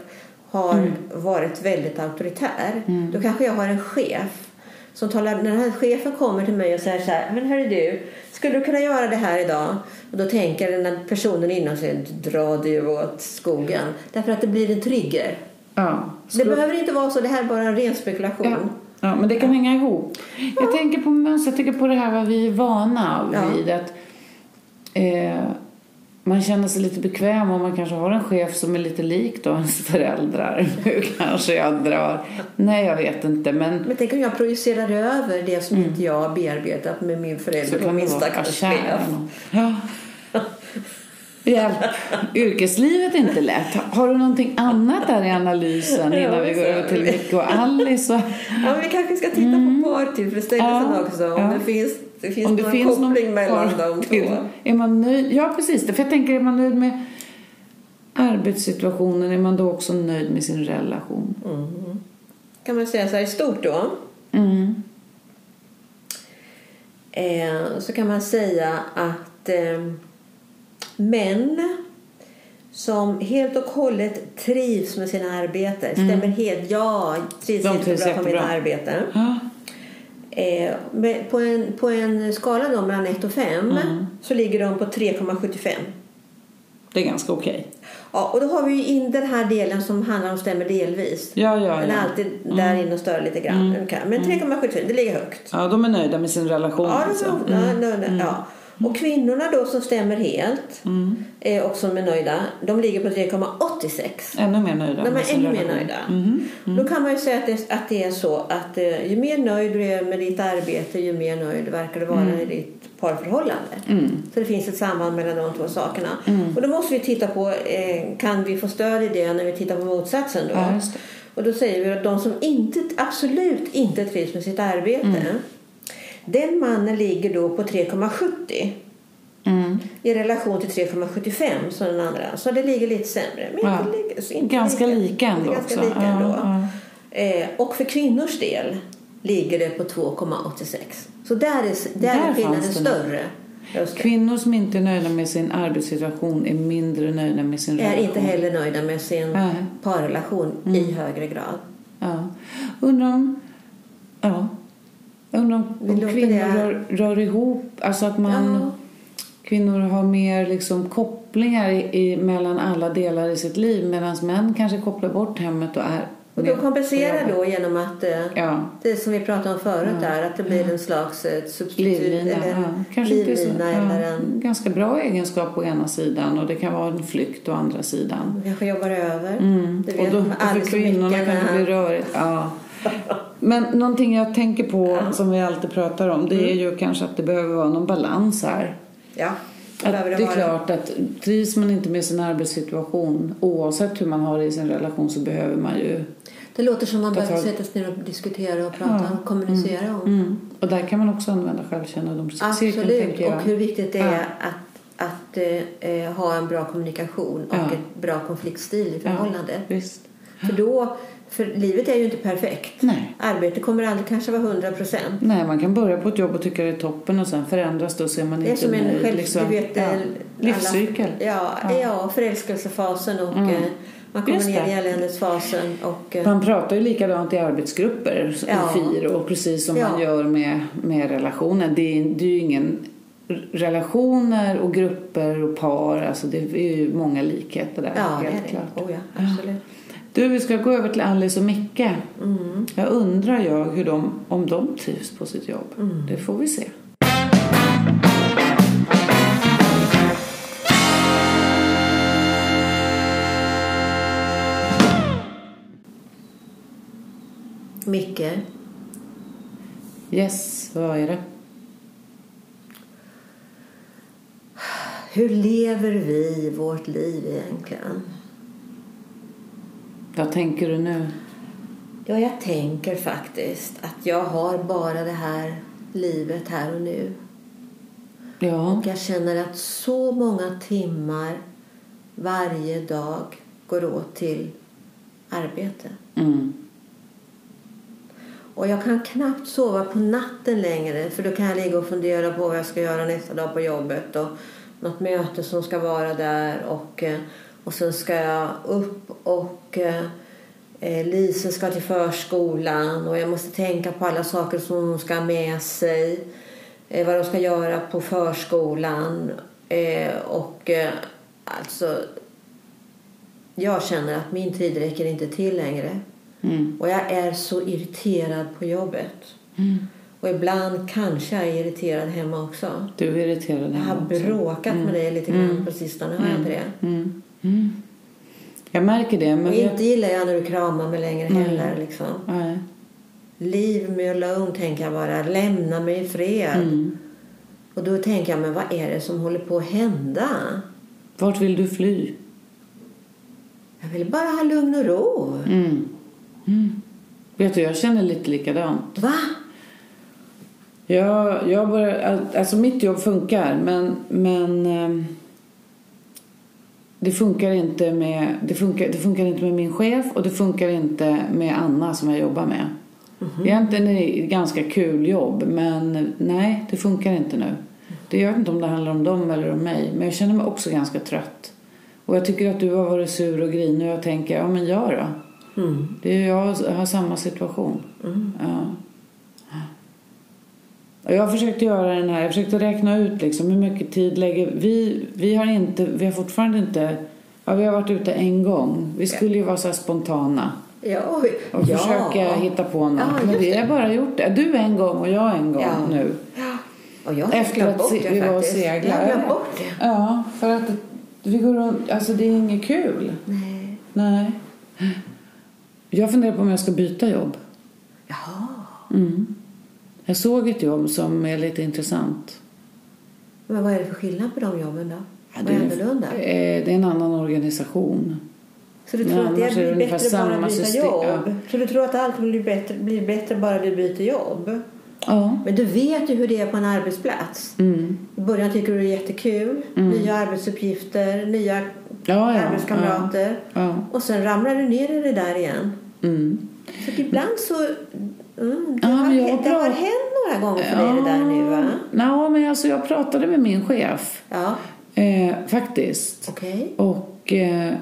A: har
B: Mm.
A: varit väldigt auktoritär. Då kanske jag har en chef som talar, när den här chefen kommer till mig och säger så här, men hörru du, skulle du kunna göra det här idag? Och då tänker den här personen inom sig, dra du åt skogen. Därför att det blir en trigger.
B: Ja.
A: Det
B: Skulle-
A: behöver inte vara så, det här är bara en ren spekulation.
B: Ja. ja, men det kan hänga ihop. Jag tänker på mönster, jag tänker på det här vad vi är vana
A: Ja.
B: vid. Att, eh, man känner sig lite bekväm om man kanske har en chef som är lite lik då ens föräldrar. Nu kanske jag drar. Nej, jag vet inte. Men
A: Men tänk om jag projicerar över det som inte jag har bearbetat med min förälder och min
B: Mm. det vara,
A: stackars
B: "Ah,
A: chef.
B: kära nån." Ja. Hjälp! Yrkeslivet är inte lätt. Har du någonting annat där i analysen
A: Ja,
B: innan vi går
A: så-
B: över till Micke och Alice? Och...
A: Ja, men vi kanske ska titta på partillfredsställelsen
B: Mm. Ja,
A: också. Om
B: ja.
A: det finns, det finns
B: Om det
A: någon
B: finns
A: koppling
B: någon
A: mellan
B: par
A: dem.
B: till.
A: Två.
B: Är man nöjd? Ja, precis. För jag tänker, är man nöjd med arbetssituationen är man då också nöjd med sin relation.
A: Kan man säga så här i stort då?
B: Mm.
A: Eh, så kan man säga att eh, män som helt och hållet trivs med sina arbeten, stämmer helt, ja, trivs
B: Mm. De
A: jättebra
B: trivs
A: på mina
B: jättebra.
A: arbeten.
B: Ja.
A: Eh, men på, en, på en skala då mellan 1 och 5
B: Mm.
A: så ligger de på 3,75.
B: Det är ganska okej.
A: Ja, och då har vi ju in den här delen som handlar om stämmer delvis.
B: Ja, ja,
A: Den
B: Mm. ja.
A: är alltid där inne och stör lite grann. Ungefär. Men 3,75, det ligger högt.
B: ja. De är nöjda med sin relation.
A: Ja,
B: alltså.
A: de, de, de, ja.
B: Mm.
A: Och kvinnorna då som stämmer helt eh, och som är nöjda, de ligger på 3,86.
B: Ännu mer nöjda
A: De
B: med
A: är
B: sin
A: ännu mer
B: relation. Mm. Mhm,
A: nöjda. Då kan man ju säga att det, att det är så att eh, ju mer nöjd du är med ditt arbete ju mer nöjd verkar du vara
B: Mm.
A: i ditt parförhållande. Så det finns ett samband mellan de två sakerna.
B: Mm.
A: Och då måste vi titta på, eh, kan vi få stöd i det när vi tittar på motsatsen då?
B: Ja, just det.
A: Och då säger vi att de som inte, absolut inte trivs med sitt arbete,
B: Mm.
A: den mannen ligger då på 3,70
B: Mm.
A: i relation till 3,75 som den andra. Så det ligger lite sämre. Men
B: Ja.
A: inte lika, så inte
B: Ganska lika
A: Det är
B: ändå
A: Ganska
B: också.
A: lika
B: Ja,
A: ändå.
B: ja.
A: Eh, och för kvinnors del ligger det på 2,86. Så där är, där
B: Där
A: är skillnaden
B: fanns den.
A: större. Just det.
B: Kvinnor som inte är nöjda med sin arbetssituation är mindre nöjda med sin
A: Är
B: relation.
A: inte heller nöjda med sin
B: Nej. Mm.
A: parrelation i högre grad.
B: Ja. Undrar om... Ja. Undrar om,
A: Vi
B: om
A: låter
B: kvinnor
A: det-
B: rör, rör ihop... Alltså att man...
A: Ja.
B: Kvinnor har mer liksom kopplingar i, i, mellan alla delar i sitt liv medan män kanske kopplar bort hemmet och är...
A: Och då
B: med-
A: kompenserar då genom att eh,
B: Ja.
A: det som vi pratade om förut där, att det blir en slags eh, substitut
B: Livlina.
A: eller
B: ja.
A: en
B: Kanske inte så,
A: livlina
B: ja.
A: eller en
B: Ganska bra egenskap å ena sidan och det kan vara en flykt å andra sidan.
A: Man kanske jobbar över.
B: Mm.
A: Du
B: Och
A: vet,
B: då,
A: med
B: och för kvinnorna kan
A: arbetsveckorna.
B: det bli rörigt. Ja. Men någonting jag tänker på som vi alltid pratar om det är
A: Mm.
B: ju kanske att det behöver vara någon balans här.
A: Ja, det
B: Att
A: behöver
B: det är
A: vara.
B: klart att trivs man inte med sin arbetssituation oavsett hur man har det i sin relation så behöver man ju
A: Det låter som man
B: Ta
A: behöver
B: tag.
A: sätta sig ner och diskutera och prata och kommunicera
B: Mm.
A: om.
B: och där kan man också använda självkännedomscirkeln
A: Mm. Absolut,
B: tänker jag.
A: och hur viktigt det är att, att eh, eh, ha en bra kommunikation och
B: Ja.
A: ett bra konfliktstil i förhållandet.
B: Visst.
A: För, då, för livet är ju inte perfekt.
B: Nej.
A: Arbete kommer aldrig kanske vara 100 procent.
B: Nej, man kan börja på ett jobb och tycka det är toppen och sen förändras det och så är man
A: Det är
B: inte
A: som en
B: nöjd,
A: själv,
B: liksom.
A: du vet, eh,
B: Ja.
A: alla-
B: Livscykel.
A: Ja, ja. förälskelsefasen och eh, man kommer
B: Mm. Just
A: ner
B: det.
A: i eländesfasen och eh,
B: Man pratar ju likadant i arbetsgrupper
A: Ja.
B: i FIR och precis som
A: Ja.
B: man gör med, med relationer. Det är, det är ju ingen relationer och grupper och par, alltså det är ju många likheter där.
A: Ja,
B: helt
A: det är det.
B: klart.
A: Oh, ja, absolut.
B: Du, vi ska gå över till Alice och Micke.
A: Mm.
B: Jag undrar jag hur de, om de trivs på sitt jobb.
A: Mm.
B: Det får vi se.
A: Micke,
B: Yes, vad är det?
A: hur lever vi vårt liv egentligen?
B: Vad tänker du nu?
A: Ja, jag tänker faktiskt att jag har bara det här livet här och nu.
B: Ja,
A: Och jag känner att så många timmar varje dag går åt till arbete.
B: mm.
A: Och jag kan knappt sova på natten längre för då kan jag ligga och fundera på vad jag ska göra nästa dag på jobbet och något möte som ska vara där och, eh, och sen ska jag upp och eh, eh, Lise ska till förskolan och jag måste tänka på alla saker som hon ska ha med sig. Eh, vad de ska göra på förskolan eh, och eh, alltså Jag känner att min tid räcker inte till längre.
B: Mm.
A: Och jag är så irriterad på jobbet.
B: Mm.
A: Och ibland kanske jag är irriterad hemma också.
B: Du är irriterad
A: Jag har
B: hemma också.
A: bråkat med dig lite grann på sistone, har jag inte det?
B: Mm. Mm. Jag märker det. Men
A: Och
B: jag...
A: inte gillar jag när du kramar mig längre
B: Nej.
A: heller. Liksom.
B: Nej.
A: Leave me alone, tänker jag bara. Lämna mig i fred.
B: Mm.
A: Och då tänker jag, men vad är det som håller på att hända?
B: Vart vill du fly?
A: Jag vill bara ha lugn och ro.
B: Mm. Mm. Vet du, jag känner lite likadant.
A: Va?
B: Jag, jag börjar, alltså mitt jobb funkar, men, men ehm, det, funkar inte med, det, funkar, det funkar inte med min chef och det funkar inte med Anna som jag jobbar med. Egentligen är det ett ganska kul jobb, men nej, det funkar inte nu. Det, jag vet inte om det handlar om dem eller om mig, men jag känner mig också ganska trött. Och jag tycker att du har varit sur och grinig och jag tänker, ja men jag då?
A: Mm.
B: Det är, jag har samma situation. Ja. Och Jag försökte göra den här, jag försökte räkna ut liksom hur mycket tid lägger vi, vi har inte, vi har fortfarande inte, ja vi har varit ute en gång. Vi skulle ju vara så här spontana
A: Ja, oj.
B: och försöka hitta på något.
A: Ja,
B: Men
A: just
B: vi har bara gjort det, du en gång och jag en gång
A: Ja.
B: nu.
A: Ja. Och jag har
B: Efter
A: glömt
B: att
A: bort
B: se,
A: det
B: vi var och
A: faktiskt. Jag har
B: seglade.
A: glömt bort det.
B: Ja, för att vi går runt, alltså det är inget kul.
A: Nej.
B: Nej. Jag funderar på om jag ska byta jobb.
A: Jaha.
B: Mm. Jag såg ett jobb som är lite intressant.
A: Men vad är det för skillnad på de jobben då?
B: Ja,
A: vad är annorlunda?
B: eh, det är en annan organisation.
A: Så du
B: men
A: tror att det
B: annars är
A: blir
B: det ungefär
A: bättre bara
B: samma
A: att byta
B: system,
A: jobb?
B: ja.
A: Så du tror att allt blir bättre, blir bättre bara du byter jobb?
B: Ja.
A: Men du vet ju hur det är på en arbetsplats.
B: Mm.
A: I början tycker du det är jättekul. Nya arbetsuppgifter, nya
B: Ja, ja,
A: arbetskamrater.
B: Ja.
A: Och sen ramlar du ner i det där igen.
B: Mm.
A: Så att ibland så... Mm, det,
B: Ja,
A: har,
B: men jag
A: det har
B: pratar-
A: hänt några gånger för dig det där nu va?
B: Ja, men alltså jag pratade med min chef.
A: Ja,
B: Eh, faktiskt.
A: okej.
B: Och eh,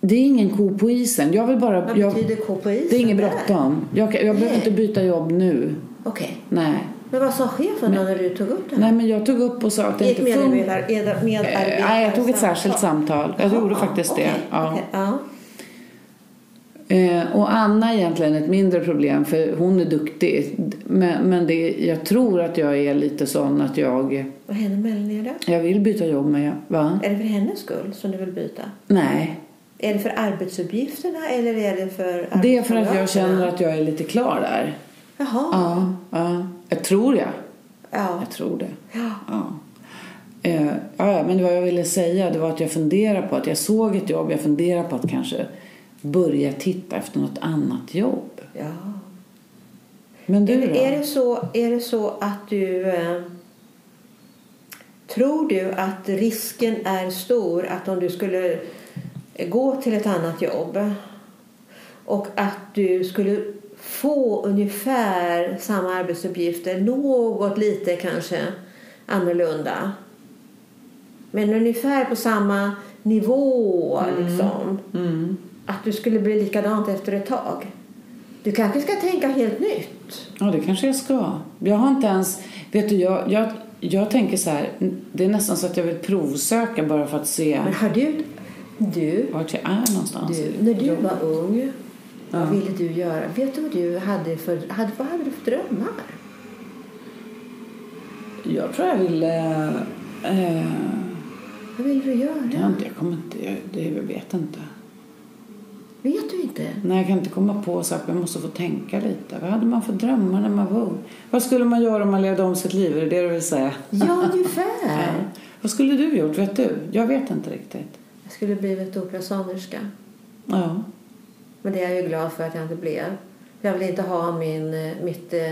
B: det är ingen ko på isen. Jag vill bara...
A: Vad
B: jag,
A: betyder K på isen?
B: det är inget
A: där?
B: bråttom. Jag, kan- jag behöver
A: Nej.
B: inte byta jobb nu.
A: Okej.
B: Nej.
A: Men vad sa chefen då när du tog upp det här?
B: Nej, men jag tog upp och sa att det
A: Ett
B: inte funkar.
A: medarbetare... Med,
B: Eh, Nej, jag tog ett särskilt samtal. Jag gjorde faktiskt det. Ja.
A: ja.
B: Eh, och Anna är egentligen ett mindre problem för hon är duktig. Men, men det, jag tror att jag är lite sån att jag,
A: Vad händer med Elin då?
B: jag vill byta jobb med. Va?
A: Är det för hennes skull som du vill byta?
B: Nej,
A: Är det för arbetsuppgifterna eller är det för
B: det är för att jag känner
A: arbetskamraterna?
B: att jag är lite klar där.
A: Jaha.
B: Ja, ja. Jag tror jag.
A: Ja.
B: Jag tror det.
A: ja.
B: Ja. Eh, ja, ja, men vad jag ville säga det var att jag funderar på att jag såg ett jobb. Jag funderar på att kanske börja titta efter något annat jobb.
A: ja.
B: Men du
A: Är,
B: då?
A: det- är, det så, är det så att du... Eh, tror du att risken är stor att om du skulle gå till ett annat jobb och att du skulle få ungefär samma arbetsuppgifter, något lite kanske annorlunda men ungefär på samma nivå liksom
B: Mm.
A: att du skulle bli likadant efter ett tag. Du kanske ska tänka helt nytt.
B: Ja, det kanske jag ska. Jag har inte ens... Vet du, jag, jag, jag tänker så här. Det är nästan så att jag vill provsöka bara för att se
A: Men har du... Du,
B: vart jag är någonstans.
A: du när du var ung, vad ville du göra? Vet du vad du hade för, hade, vad hade du för drömmar?
B: Jag tror jag vill... Eh, eh,
A: Vad ville du göra?
B: jag, har inte- jag kommer inte... Jag, det, jag vet inte.
A: Vet du inte?
B: Nej, jag kan inte komma på så att jag måste få tänka lite. Vad hade man för drömmar när man var ung? Vad skulle man göra om man levde om sitt liv? Är det det du vill säga?
A: Ja,
B: Ja.
A: ungefär.
B: Vad skulle du gjort? Vet du? Jag vet inte riktigt.
A: Jag skulle blivit operasångerska.
B: Ja.
A: Men det är jag ju glad för att jag inte blev. Jag vill inte ha min, eh, mitt eh,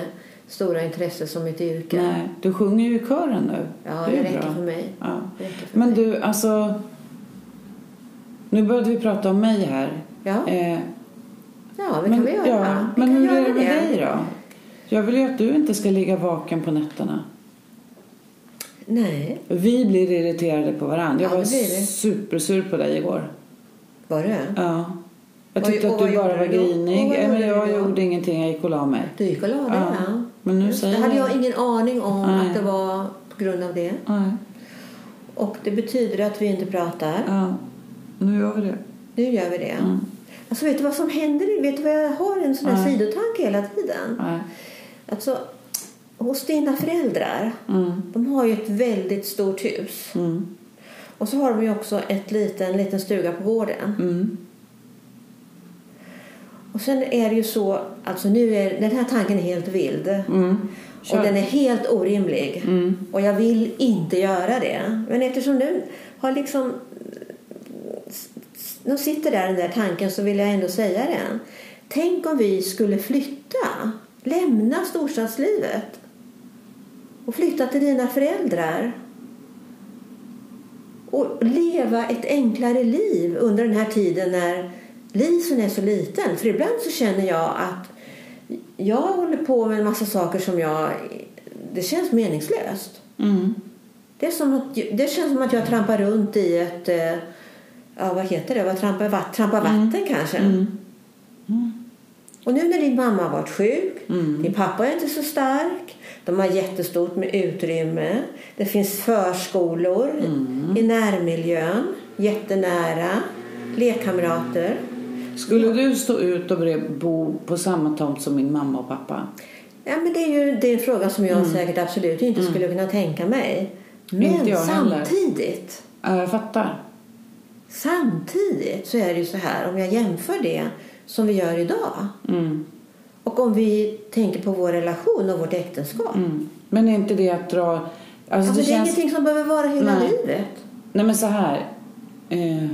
A: stora intresse som mitt yrke.
B: Nej, du sjunger ju i kören nu.
A: Ja,
B: är
A: det
B: ju
A: räcker
B: bra.
A: för mig.
B: Ja.
A: Det räcker för
B: Men
A: mig.
B: du, alltså... Nu började vi prata om mig här.
A: Ja,
B: Eh,
A: ja det
B: men,
A: kan vi göra.
B: Ja,
A: vi
B: men
A: kan
B: hur är
A: göra
B: det med dig då? Jag vill ju att du inte ska ligga vaken på nätterna.
A: Nej,
B: Vi blir irriterade på varandra. Jag
A: Ja,
B: var
A: det blir vi.
B: supersur på dig igår.
A: var det?
B: Ja. Jag
A: Oj,
B: tyckte
A: och
B: att
A: vad
B: du bara
A: gjorde
B: var
A: du då? Och
B: grinig.
A: vad
B: Nej, men
A: gjorde du
B: jag
A: då?
B: gjorde ingenting. Jag gick och la mig.
A: Du gick och la dig,
B: Ja.
A: va?
B: Men nu
A: Just det
B: säger
A: hade
B: jag-
A: jag ingen aning om
B: Nej.
A: att det var på grund av det.
B: Nej.
A: Och det betyder att vi inte pratar.
B: Ja. nu gör vi det.
A: Nu gör vi det.
B: Mm.
A: Alltså, vet du vad som händer? Vet du vad jag har en sån här
B: Nej.
A: sidotanke hela tiden?
B: Nej.
A: Alltså, hos dina föräldrar,
B: Mm.
A: de har ju ett väldigt stort hus.
B: Mm.
A: Och så har de ju också ett liten, en liten stuga på gården.
B: Mm.
A: Och sen är det ju så, alltså nu är den här tanken är helt vild.
B: Mm.
A: Och
B: Kör.
A: den är helt orimlig.
B: Mm.
A: Och jag vill inte göra det. Men eftersom du har liksom... Nu sitter där den där tanken så vill jag ändå säga den. Tänk om vi skulle flytta. Lämna storstadslivet. Och flytta till dina föräldrar. Och leva ett enklare liv under den här tiden när Lisen är så liten. För ibland så känner jag att jag håller på med en massa saker som jag... Det känns meningslöst.
B: Mm.
A: Det, är som att, det känns som att jag trampar runt i ett... eh, Ja, vad heter det? Vad trampar, vatt, trampar vatten kanske.
B: Mm.
A: Och nu när din mamma har varit sjuk,
B: Mm.
A: din pappa är inte så stark. De har jättestort med utrymme. Det finns förskolor
B: Mm.
A: i närmiljön, jättenära. Lekkamrater.
B: Skulle du stå ut och bre- bo på samma tomt som min mamma och pappa?
A: Ja, men det är ju det är en fråga som jag säkert absolut inte skulle kunna tänka mig. Men
B: Mm. Inte jag heller.
A: samtidigt.
B: Ja, jag fattar.
A: Samtidigt så är det ju så här, om jag jämför det som vi gör idag
B: Mm.
A: och om vi tänker på vår relation och vårt äktenskap.
B: Mm. Men är inte det att dra... Alltså,
A: Alltså,
B: det
A: det är
B: känns...
A: ingenting som behöver vara hela
B: Nej.
A: livet.
B: Nej, men så här. Eh,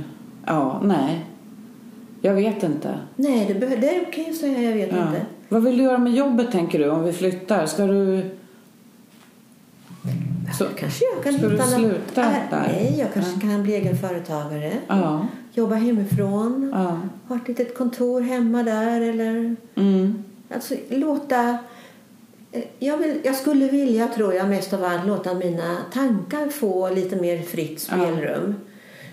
B: ja, nej. Jag vet inte.
A: Nej, det, behö- det är okej att säga jag vet
B: Ja.
A: inte.
B: Vad vill du göra med jobbet tänker du om vi flyttar? Ska du... Så,
A: Kanske jag kan
B: Ska du
A: hitta något-
B: sluta
A: Ah,
B: där?
A: Nej, jag kanske kan bli egen företagare.
B: ja,
A: Jobba hemifrån.
B: ja.
A: Ha ett litet kontor hemma där eller
B: Mm,
A: Alltså låta... eh, Jag, vill, jag skulle vilja, tror jag, mest av allt låta mina tankar få lite mer fritt spelrum.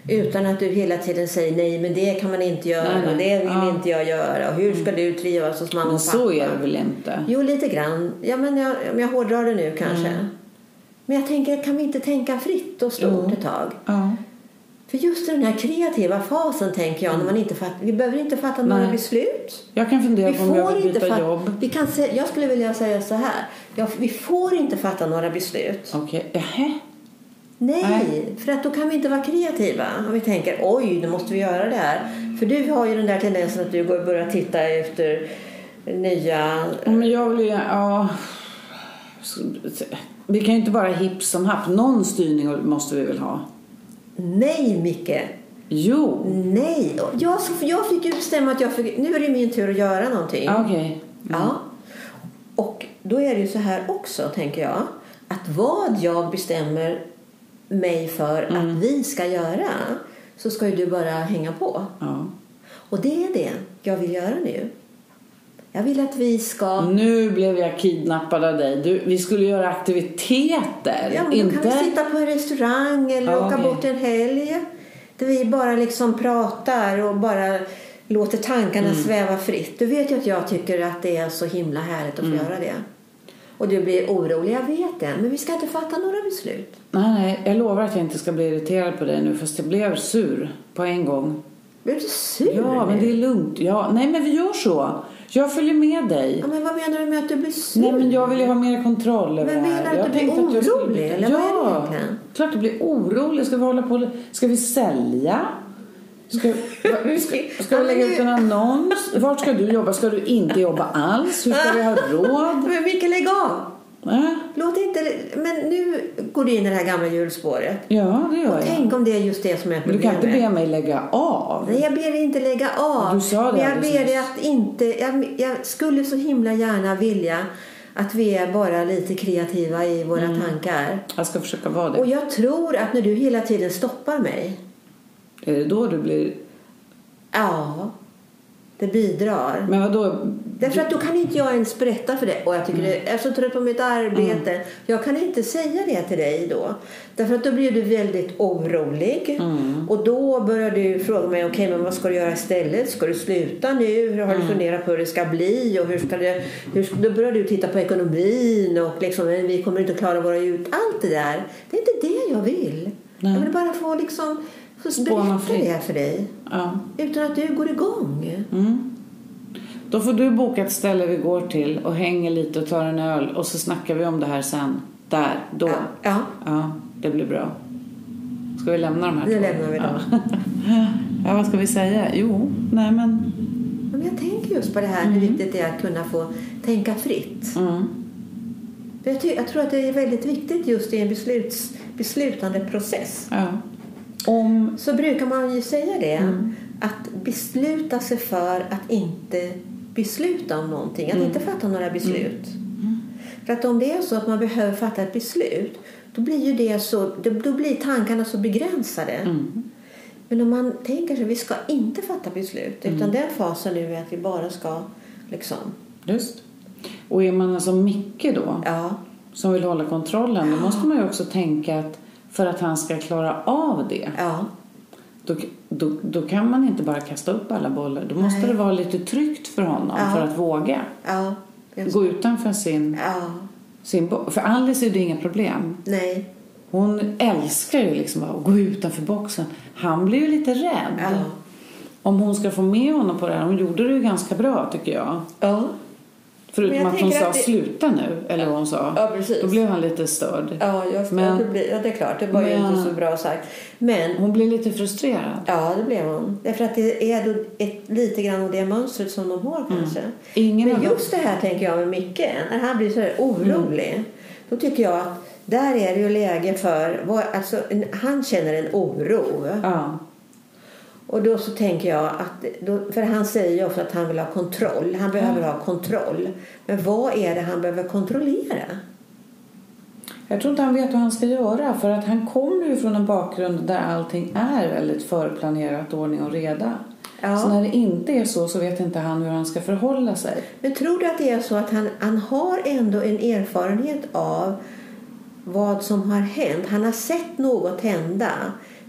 A: Utan att du hela tiden säger nej, men det kan man inte göra
B: Nej, nej.
A: och det vill
B: Ja. Mm.
A: inte jag göra och hur ska du trivas hos mamma
B: men
A: och pappa?
B: så är det väl inte? Mm.
A: Jo, lite grann. Ja, men jag, om jag hårdrar det nu kanske. Men jag tänker, kan vi inte tänka fritt och stort
B: Jo.
A: ett tag?
B: Ja.
A: För just i den här kreativa fasen tänker jag, när man inte fatt, vi behöver inte fatta några
B: Mm. Nej.
A: beslut.
B: Jag kan fundera
A: Vi
B: på om jag
A: får
B: vill
A: inte
B: byta
A: fatta,
B: jobb.
A: Vi kan sä- jag skulle vilja säga så här. Ja, vi får inte fatta några beslut.
B: Okej, okay.
A: Nej,
B: Nej.
A: för att då kan vi inte vara kreativa. Om vi tänker oj, nu måste vi göra det här. För du har ju den där tendensen att du går och börjar titta efter nya...
B: Men jag vill ju... Ja. Vi kan ju inte bara hipp som happ. Någon styrning måste vi väl ha?
A: Nej, Micke!
B: Jo.
A: Nej! Och Jag, jag fick ju bestämma att jag fick, nu är det min tur att göra någonting.
B: Ja, Ah, Okej.
A: Ja. Och då är det ju så här också, tänker jag, att vad jag bestämmer mig för att vi ska göra så ska ju du bara hänga på.
B: Ja.
A: Och det är det jag vill göra nu. Jag vill att vi ska...
B: Nu blev jag kidnappad av dig. Du, vi skulle göra aktiviteter.
A: Ja, men då
B: inte...
A: kan vi sitta på en restaurang eller åka
B: Ja, okej.
A: bort en helg. Där vi bara liksom pratar och bara låter tankarna
B: Mm.
A: sväva fritt. Du vet ju att jag tycker att det är så himla härligt att få
B: Mm.
A: göra det. Och du blir orolig, jag vet det. Men vi ska inte fatta några beslut.
B: Nej, nej, jag lovar att jag inte ska bli irriterad på dig nu fast jag blev sur på en gång.
A: Blir du sur
B: Ja, men
A: nu?
B: det är lugnt. Ja, nej, men vi gör så. Jag följer med dig.
A: ja, men vad menar du med att du blir sur?
B: Nej, men jag vill ju ha mer kontroll över
A: Men
B: det
A: menar
B: här.
A: du att
B: jag
A: du blir
B: tänkte jag skulle
A: orolig,
B: byta-
A: eller vad är det
B: Ja,
A: egentligen?
B: klart du blir orolig. Ska vi hålla på Ska vi sälja? Ska, va- ska, ska
A: Ja,
B: vi
A: men
B: lägga ut
A: nu-
B: en annons? Vart ska du jobba? Ska du inte jobba alls? Hur ska vi ha råd?
A: Men Micke, lägg av!
B: Äh?
A: Låt inte... Men nu går du in i det här gamla hjulspåret.
B: Ja, det gör jag.
A: Tänk om det är just det som är
B: Du
A: problemet.
B: kan inte be mig lägga av.
A: Nej, jag ber dig inte lägga av.
B: Du sa det
A: men jag
B: alldeles
A: ber dig
B: nyss.
A: att inte... Jag, jag skulle så himla gärna vilja att vi är bara lite kreativa i våra
B: Mm.
A: tankar.
B: Jag ska försöka vara det.
A: Och jag tror att när du hela tiden stoppar mig,
B: Är det då du blir...
A: ja, det bidrar.
B: Men vadå?
A: Därför att då kan inte jag ens berätta för dig. Och jag, tycker det,
B: Mm.
A: jag är så trött på mitt arbete. Jag kan inte säga det till dig då. Därför att då blir du väldigt orolig.
B: Mm.
A: Och då börjar du fråga mig, okej men vad ska du göra istället? Ska du sluta nu? Hur har
B: Mm.
A: du funderat på hur det ska bli? Och hur ska det, hur, ska- då börjar du titta på ekonomin och liksom, "Men vi kommer inte att klara våra ut. Allt det där. Det är inte det jag vill.
B: Nej.
A: Jag vill bara få liksom Så
B: Spåna
A: berättar
B: fritt.
A: det för dig
B: Ja.
A: utan att du går igång.
B: Mm. Då får du boka ett ställe vi går till och hänger lite och tar en öl och så snackar vi om det här sen. Där, då.
A: Ja, ja.
B: Ja, det blir bra. Ska vi lämna de här
A: Nu
B: två?
A: lämnar vi dem.
B: Ja. ja, vad ska vi säga? Jo, nej men...
A: Men jag tänker just på det här hur viktigt det är att kunna få tänka fritt.
B: Mm.
A: För Jag, ty- jag tror att det är väldigt viktigt just i en besluts- beslutande process.
B: Ja. Om...
A: Så brukar man ju säga det, att besluta sig för att inte besluta om någonting, att inte fatta några beslut. För att om det är så att man behöver fatta ett beslut, då blir ju det så, då- då blir tankarna så begränsade.
B: Mm.
A: Men om man tänker sig, vi ska inte fatta beslut, utan den fasen nu är att vi bara ska liksom,
B: Just. Och är man alltså Micke då,
A: ja,
B: som vill hålla kontrollen, då måste man ju också tänka att för att han ska klara av det
A: ja,
B: då, då, då kan man inte bara kasta upp alla bollar. Då måste
A: Nej.
B: det vara lite tryggt för honom
A: Ja.
B: för att våga
A: ja, jag-
B: gå utanför sin,
A: ja,
B: sin box. För Alice är det inga problem.
A: nej,
B: Hon älskar ju liksom att gå utanför boxen. Han blir ju lite rädd.
A: Ja.
B: Om hon ska få med honom på det här. Hon gjorde det ju ganska bra tycker jag.
A: ja, Men
B: Förutom
A: jag
B: att hon
A: tänker
B: sa
A: att det-
B: sluta nu. Eller vad hon sa.
A: Ja, precis.
B: Då blev han lite störd.
A: ja, jag,
B: Men-
A: men, det, blir, ja det är klart, det var ju
B: Men-
A: inte så bra sagt. Men
B: Hon blev lite frustrerad.
A: Ja, det blev hon. Därför att det är då ett, lite grann av det mönstret som de har kanske.
B: Mm. Ingen av
A: Men
B: dem.
A: just det här tänker jag med Micke, när han blir så här orolig.
B: Mm.
A: Då tycker jag att där är det ju läge för, vad, alltså, en, han känner en oro.
B: Ja.
A: Och då så tänker jag att, då, för han säger ju ofta att han vill ha kontroll. Han behöver
B: Mm.
A: ha kontroll. Men vad är det han behöver kontrollera?
B: Jag tror inte han vet vad han ska göra för att han kommer ju från en bakgrund där allting är väldigt förplanerat, ordning och reda.
A: Ja.
B: Så när det inte är så så vet inte han hur han ska förhålla sig.
A: Men tror du att det är så att han, han har ändå en erfarenhet av vad som har hänt? Han har sett något hända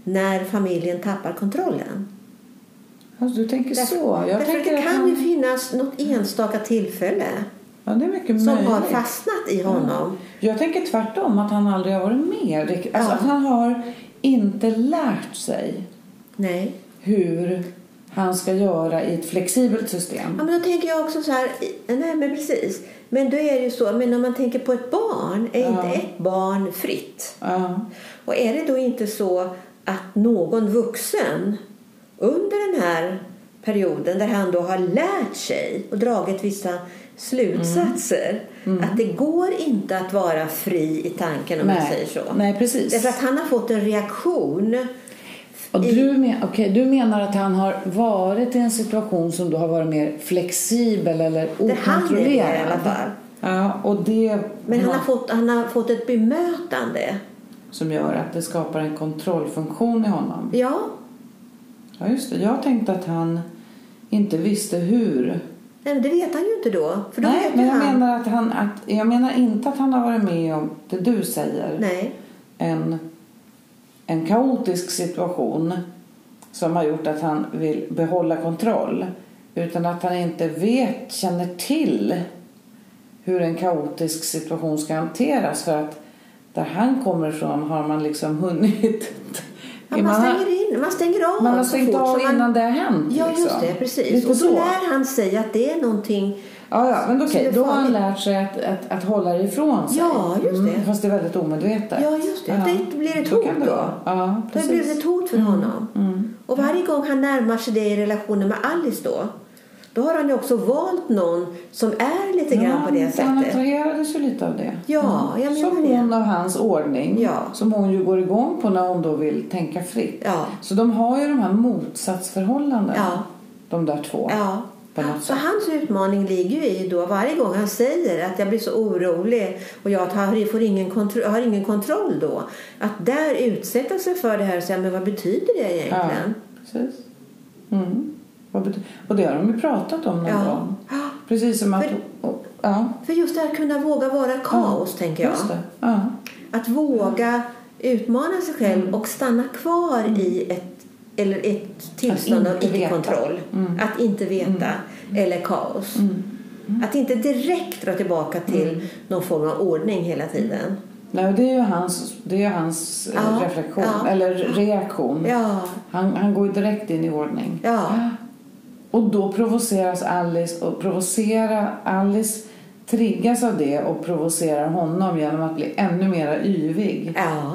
A: när familjen tappar kontrollen.
B: Alltså, du tänker så. Jag
A: Därför att
B: tänker
A: det
B: att
A: kan
B: han...
A: ju finnas något enstaka tillfälle
B: Ja, det är mycket
A: som har
B: möjligt. Mm.
A: fastnat i honom.
B: Jag tänker tvärtom, att han aldrig har varit med. riktigt. Alltså,
A: Ja.
B: att han har inte lärt sig
A: Nej.
B: hur han ska göra i ett flexibelt system.
A: Ja, men då tänker jag också så här, i- nej men precis. Men då är det ju så, men om man tänker på ett barn, är
B: Ja.
A: inte ett barn fritt?
B: Ja.
A: Och är det då inte så att någon vuxen under den här perioden där han då har lärt sig och dragit vissa slutsatser
B: Mm.
A: att det går inte att vara fri i tanken om man
B: Nej.
A: säger så.
B: Nej, precis.
A: Därför att han har fått en reaktion.
B: Och du, men, okej, du menar att han har varit i en situation som då har varit mer flexibel eller
A: Där han är det i
B: okontrollerad?
A: alla fall.
B: Ja, och det
A: Men han har, fått, han har fått ett bemötande.
B: som gör att det skapar en kontrollfunktion i honom.
A: Ja,
B: Ja, just det. Jag tänkte att han inte visste hur.
A: nej, men det vet han ju inte då. För då
B: Nej,
A: vet ju
B: men jag
A: han.
B: menar, att han, att, jag menar inte att han har varit med om det du säger.
A: Nej,
B: En, en kaotisk situation som har gjort att han vill behålla kontroll. Utan att han inte vet, känner till hur en kaotisk situation ska hanteras. För att där han kommer ifrån har man liksom hunnit...
A: Ja, man, stänger in, man stänger av
B: man har
A: så
B: stängt
A: fort,
B: av
A: så man-
B: innan det har hänt.
A: Ja,
B: liksom.
A: just det. Precis.
B: Lite
A: Och
B: så.
A: då lär han sig att det är någonting...
B: Ja, ja, men okej.
A: Så det är
B: Då har han
A: farligt.
B: lärt sig att, att, att hålla det ifrån sig. Mm,
A: Ja, just det.
B: fast det är väldigt omedvetet.
A: Ja, just det. Det blir ett
B: Då kan
A: hot
B: det
A: då.
B: vara. Ja,
A: Det
B: precis. Mm,
A: blir det ett hot för honom. Och varje gång han närmar sig det i relationen med Alice då, då har han ju också valt någon som är lite grann på det
B: men Han
A: sättet.
B: attraherades ju lite av det. Mm.
A: Ja, jag menar
B: som
A: det.
B: hon av hans ordning.
A: Ja.
B: Som hon ju går igång på när hon då vill tänka fritt.
A: Ja.
B: Så de har ju de här motsatsförhållandena.
A: Ja.
B: De där två.
A: Ja.
B: På något
A: Så
B: sätt.
A: hans utmaning ligger ju i då varje gång han säger att jag blir så orolig och jag tar, får ingen kontro, har ingen kontroll då. Att där utsätta sig för det här och säga men vad betyder det
B: Ja,
A: egentligen?
B: precis. Mm. Vad bety- Och det har de ju pratat om någon
A: Ja.
B: gång. Precis som att... och- Ja.
A: För just det här att kunna våga vara kaos tänker jag.
B: Just det. Ja.
A: Att våga utmana sig själv och stanna kvar i ett, eller ett tillstånd
B: Mm.
A: av
B: Att inte Mm.
A: icke-kontroll. Att inte veta eller kaos.
B: Mm. Mm.
A: Att inte direkt dra tillbaka till någon form av ordning hela tiden.
B: Nej, det är ju hans, det är ju hans eh,
A: Ja,
B: reflektion,
A: ja.
B: eller reaktion.
A: Ja,
B: Han, han går ju direkt in i ordning.
A: ja,
B: Och då provoceras Alice och provocera Alice triggas av det och provocerar honom genom att bli ännu mer yvig
A: ja.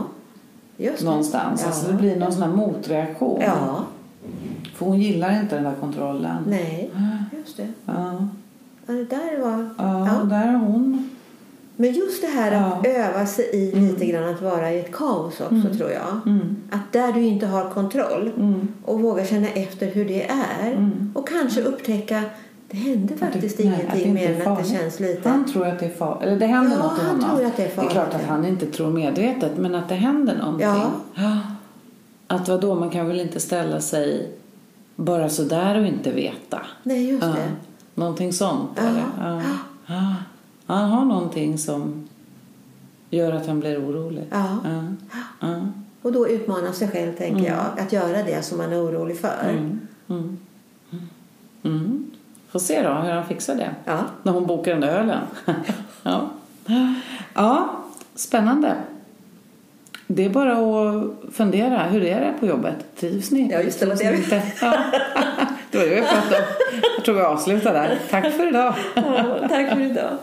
A: Just det.
B: någonstans.
A: Ja.
B: Alltså det blir någon sån här motreaktion.
A: Ja,
B: För hon gillar inte den där kontrollen.
A: nej, just det.
B: Ja,
A: Ja, det där var...
B: ja,
A: Ja.
B: där är hon.
A: Men just det här att
B: Ja.
A: öva sig i lite grann att vara i ett kaos också tror jag.
B: Mm.
A: Att där du inte har kontroll
B: Mm.
A: och våga känna efter hur det är
B: Mm.
A: och kanske upptäcka det hände
B: Att det-
A: faktiskt
B: nej, att det
A: ingenting
B: inte
A: mer
B: är
A: än att det
B: farligt.
A: känns lite.
B: Han tror att det är farligt. Eller det händer
A: Ja,
B: något i
A: han
B: honom.
A: tror att det är farligt.
B: Det är klart att han inte tror medvetet, men att det händer någonting.
A: Ja.
B: Att vadå, man kan väl inte ställa sig bara sådär och inte veta.
A: Nej, just
B: Ja.
A: det.
B: Någonting sånt,
A: Ja.
B: eller? Ja. Ja. Han har någonting som gör att han blir orolig.
A: Ja.
B: Ja. Ja.
A: Och då utmana sig själv tänker jag att göra det som man är orolig för.
B: Mm. Mm. Mm. Får se då hur han fixar det.
A: Ja.
B: När hon bokar den där ölen. ja. ja, spännande. Det är bara att fundera. Hur är det på jobbet? Trivs ni?
A: Ja, just det,
B: Trivs
A: det
B: ni
A: är-
B: inte? Ja. Det var det vi pratade om. Jag tror vi avslutar där. Tack för idag.
A: ja, tack för idag.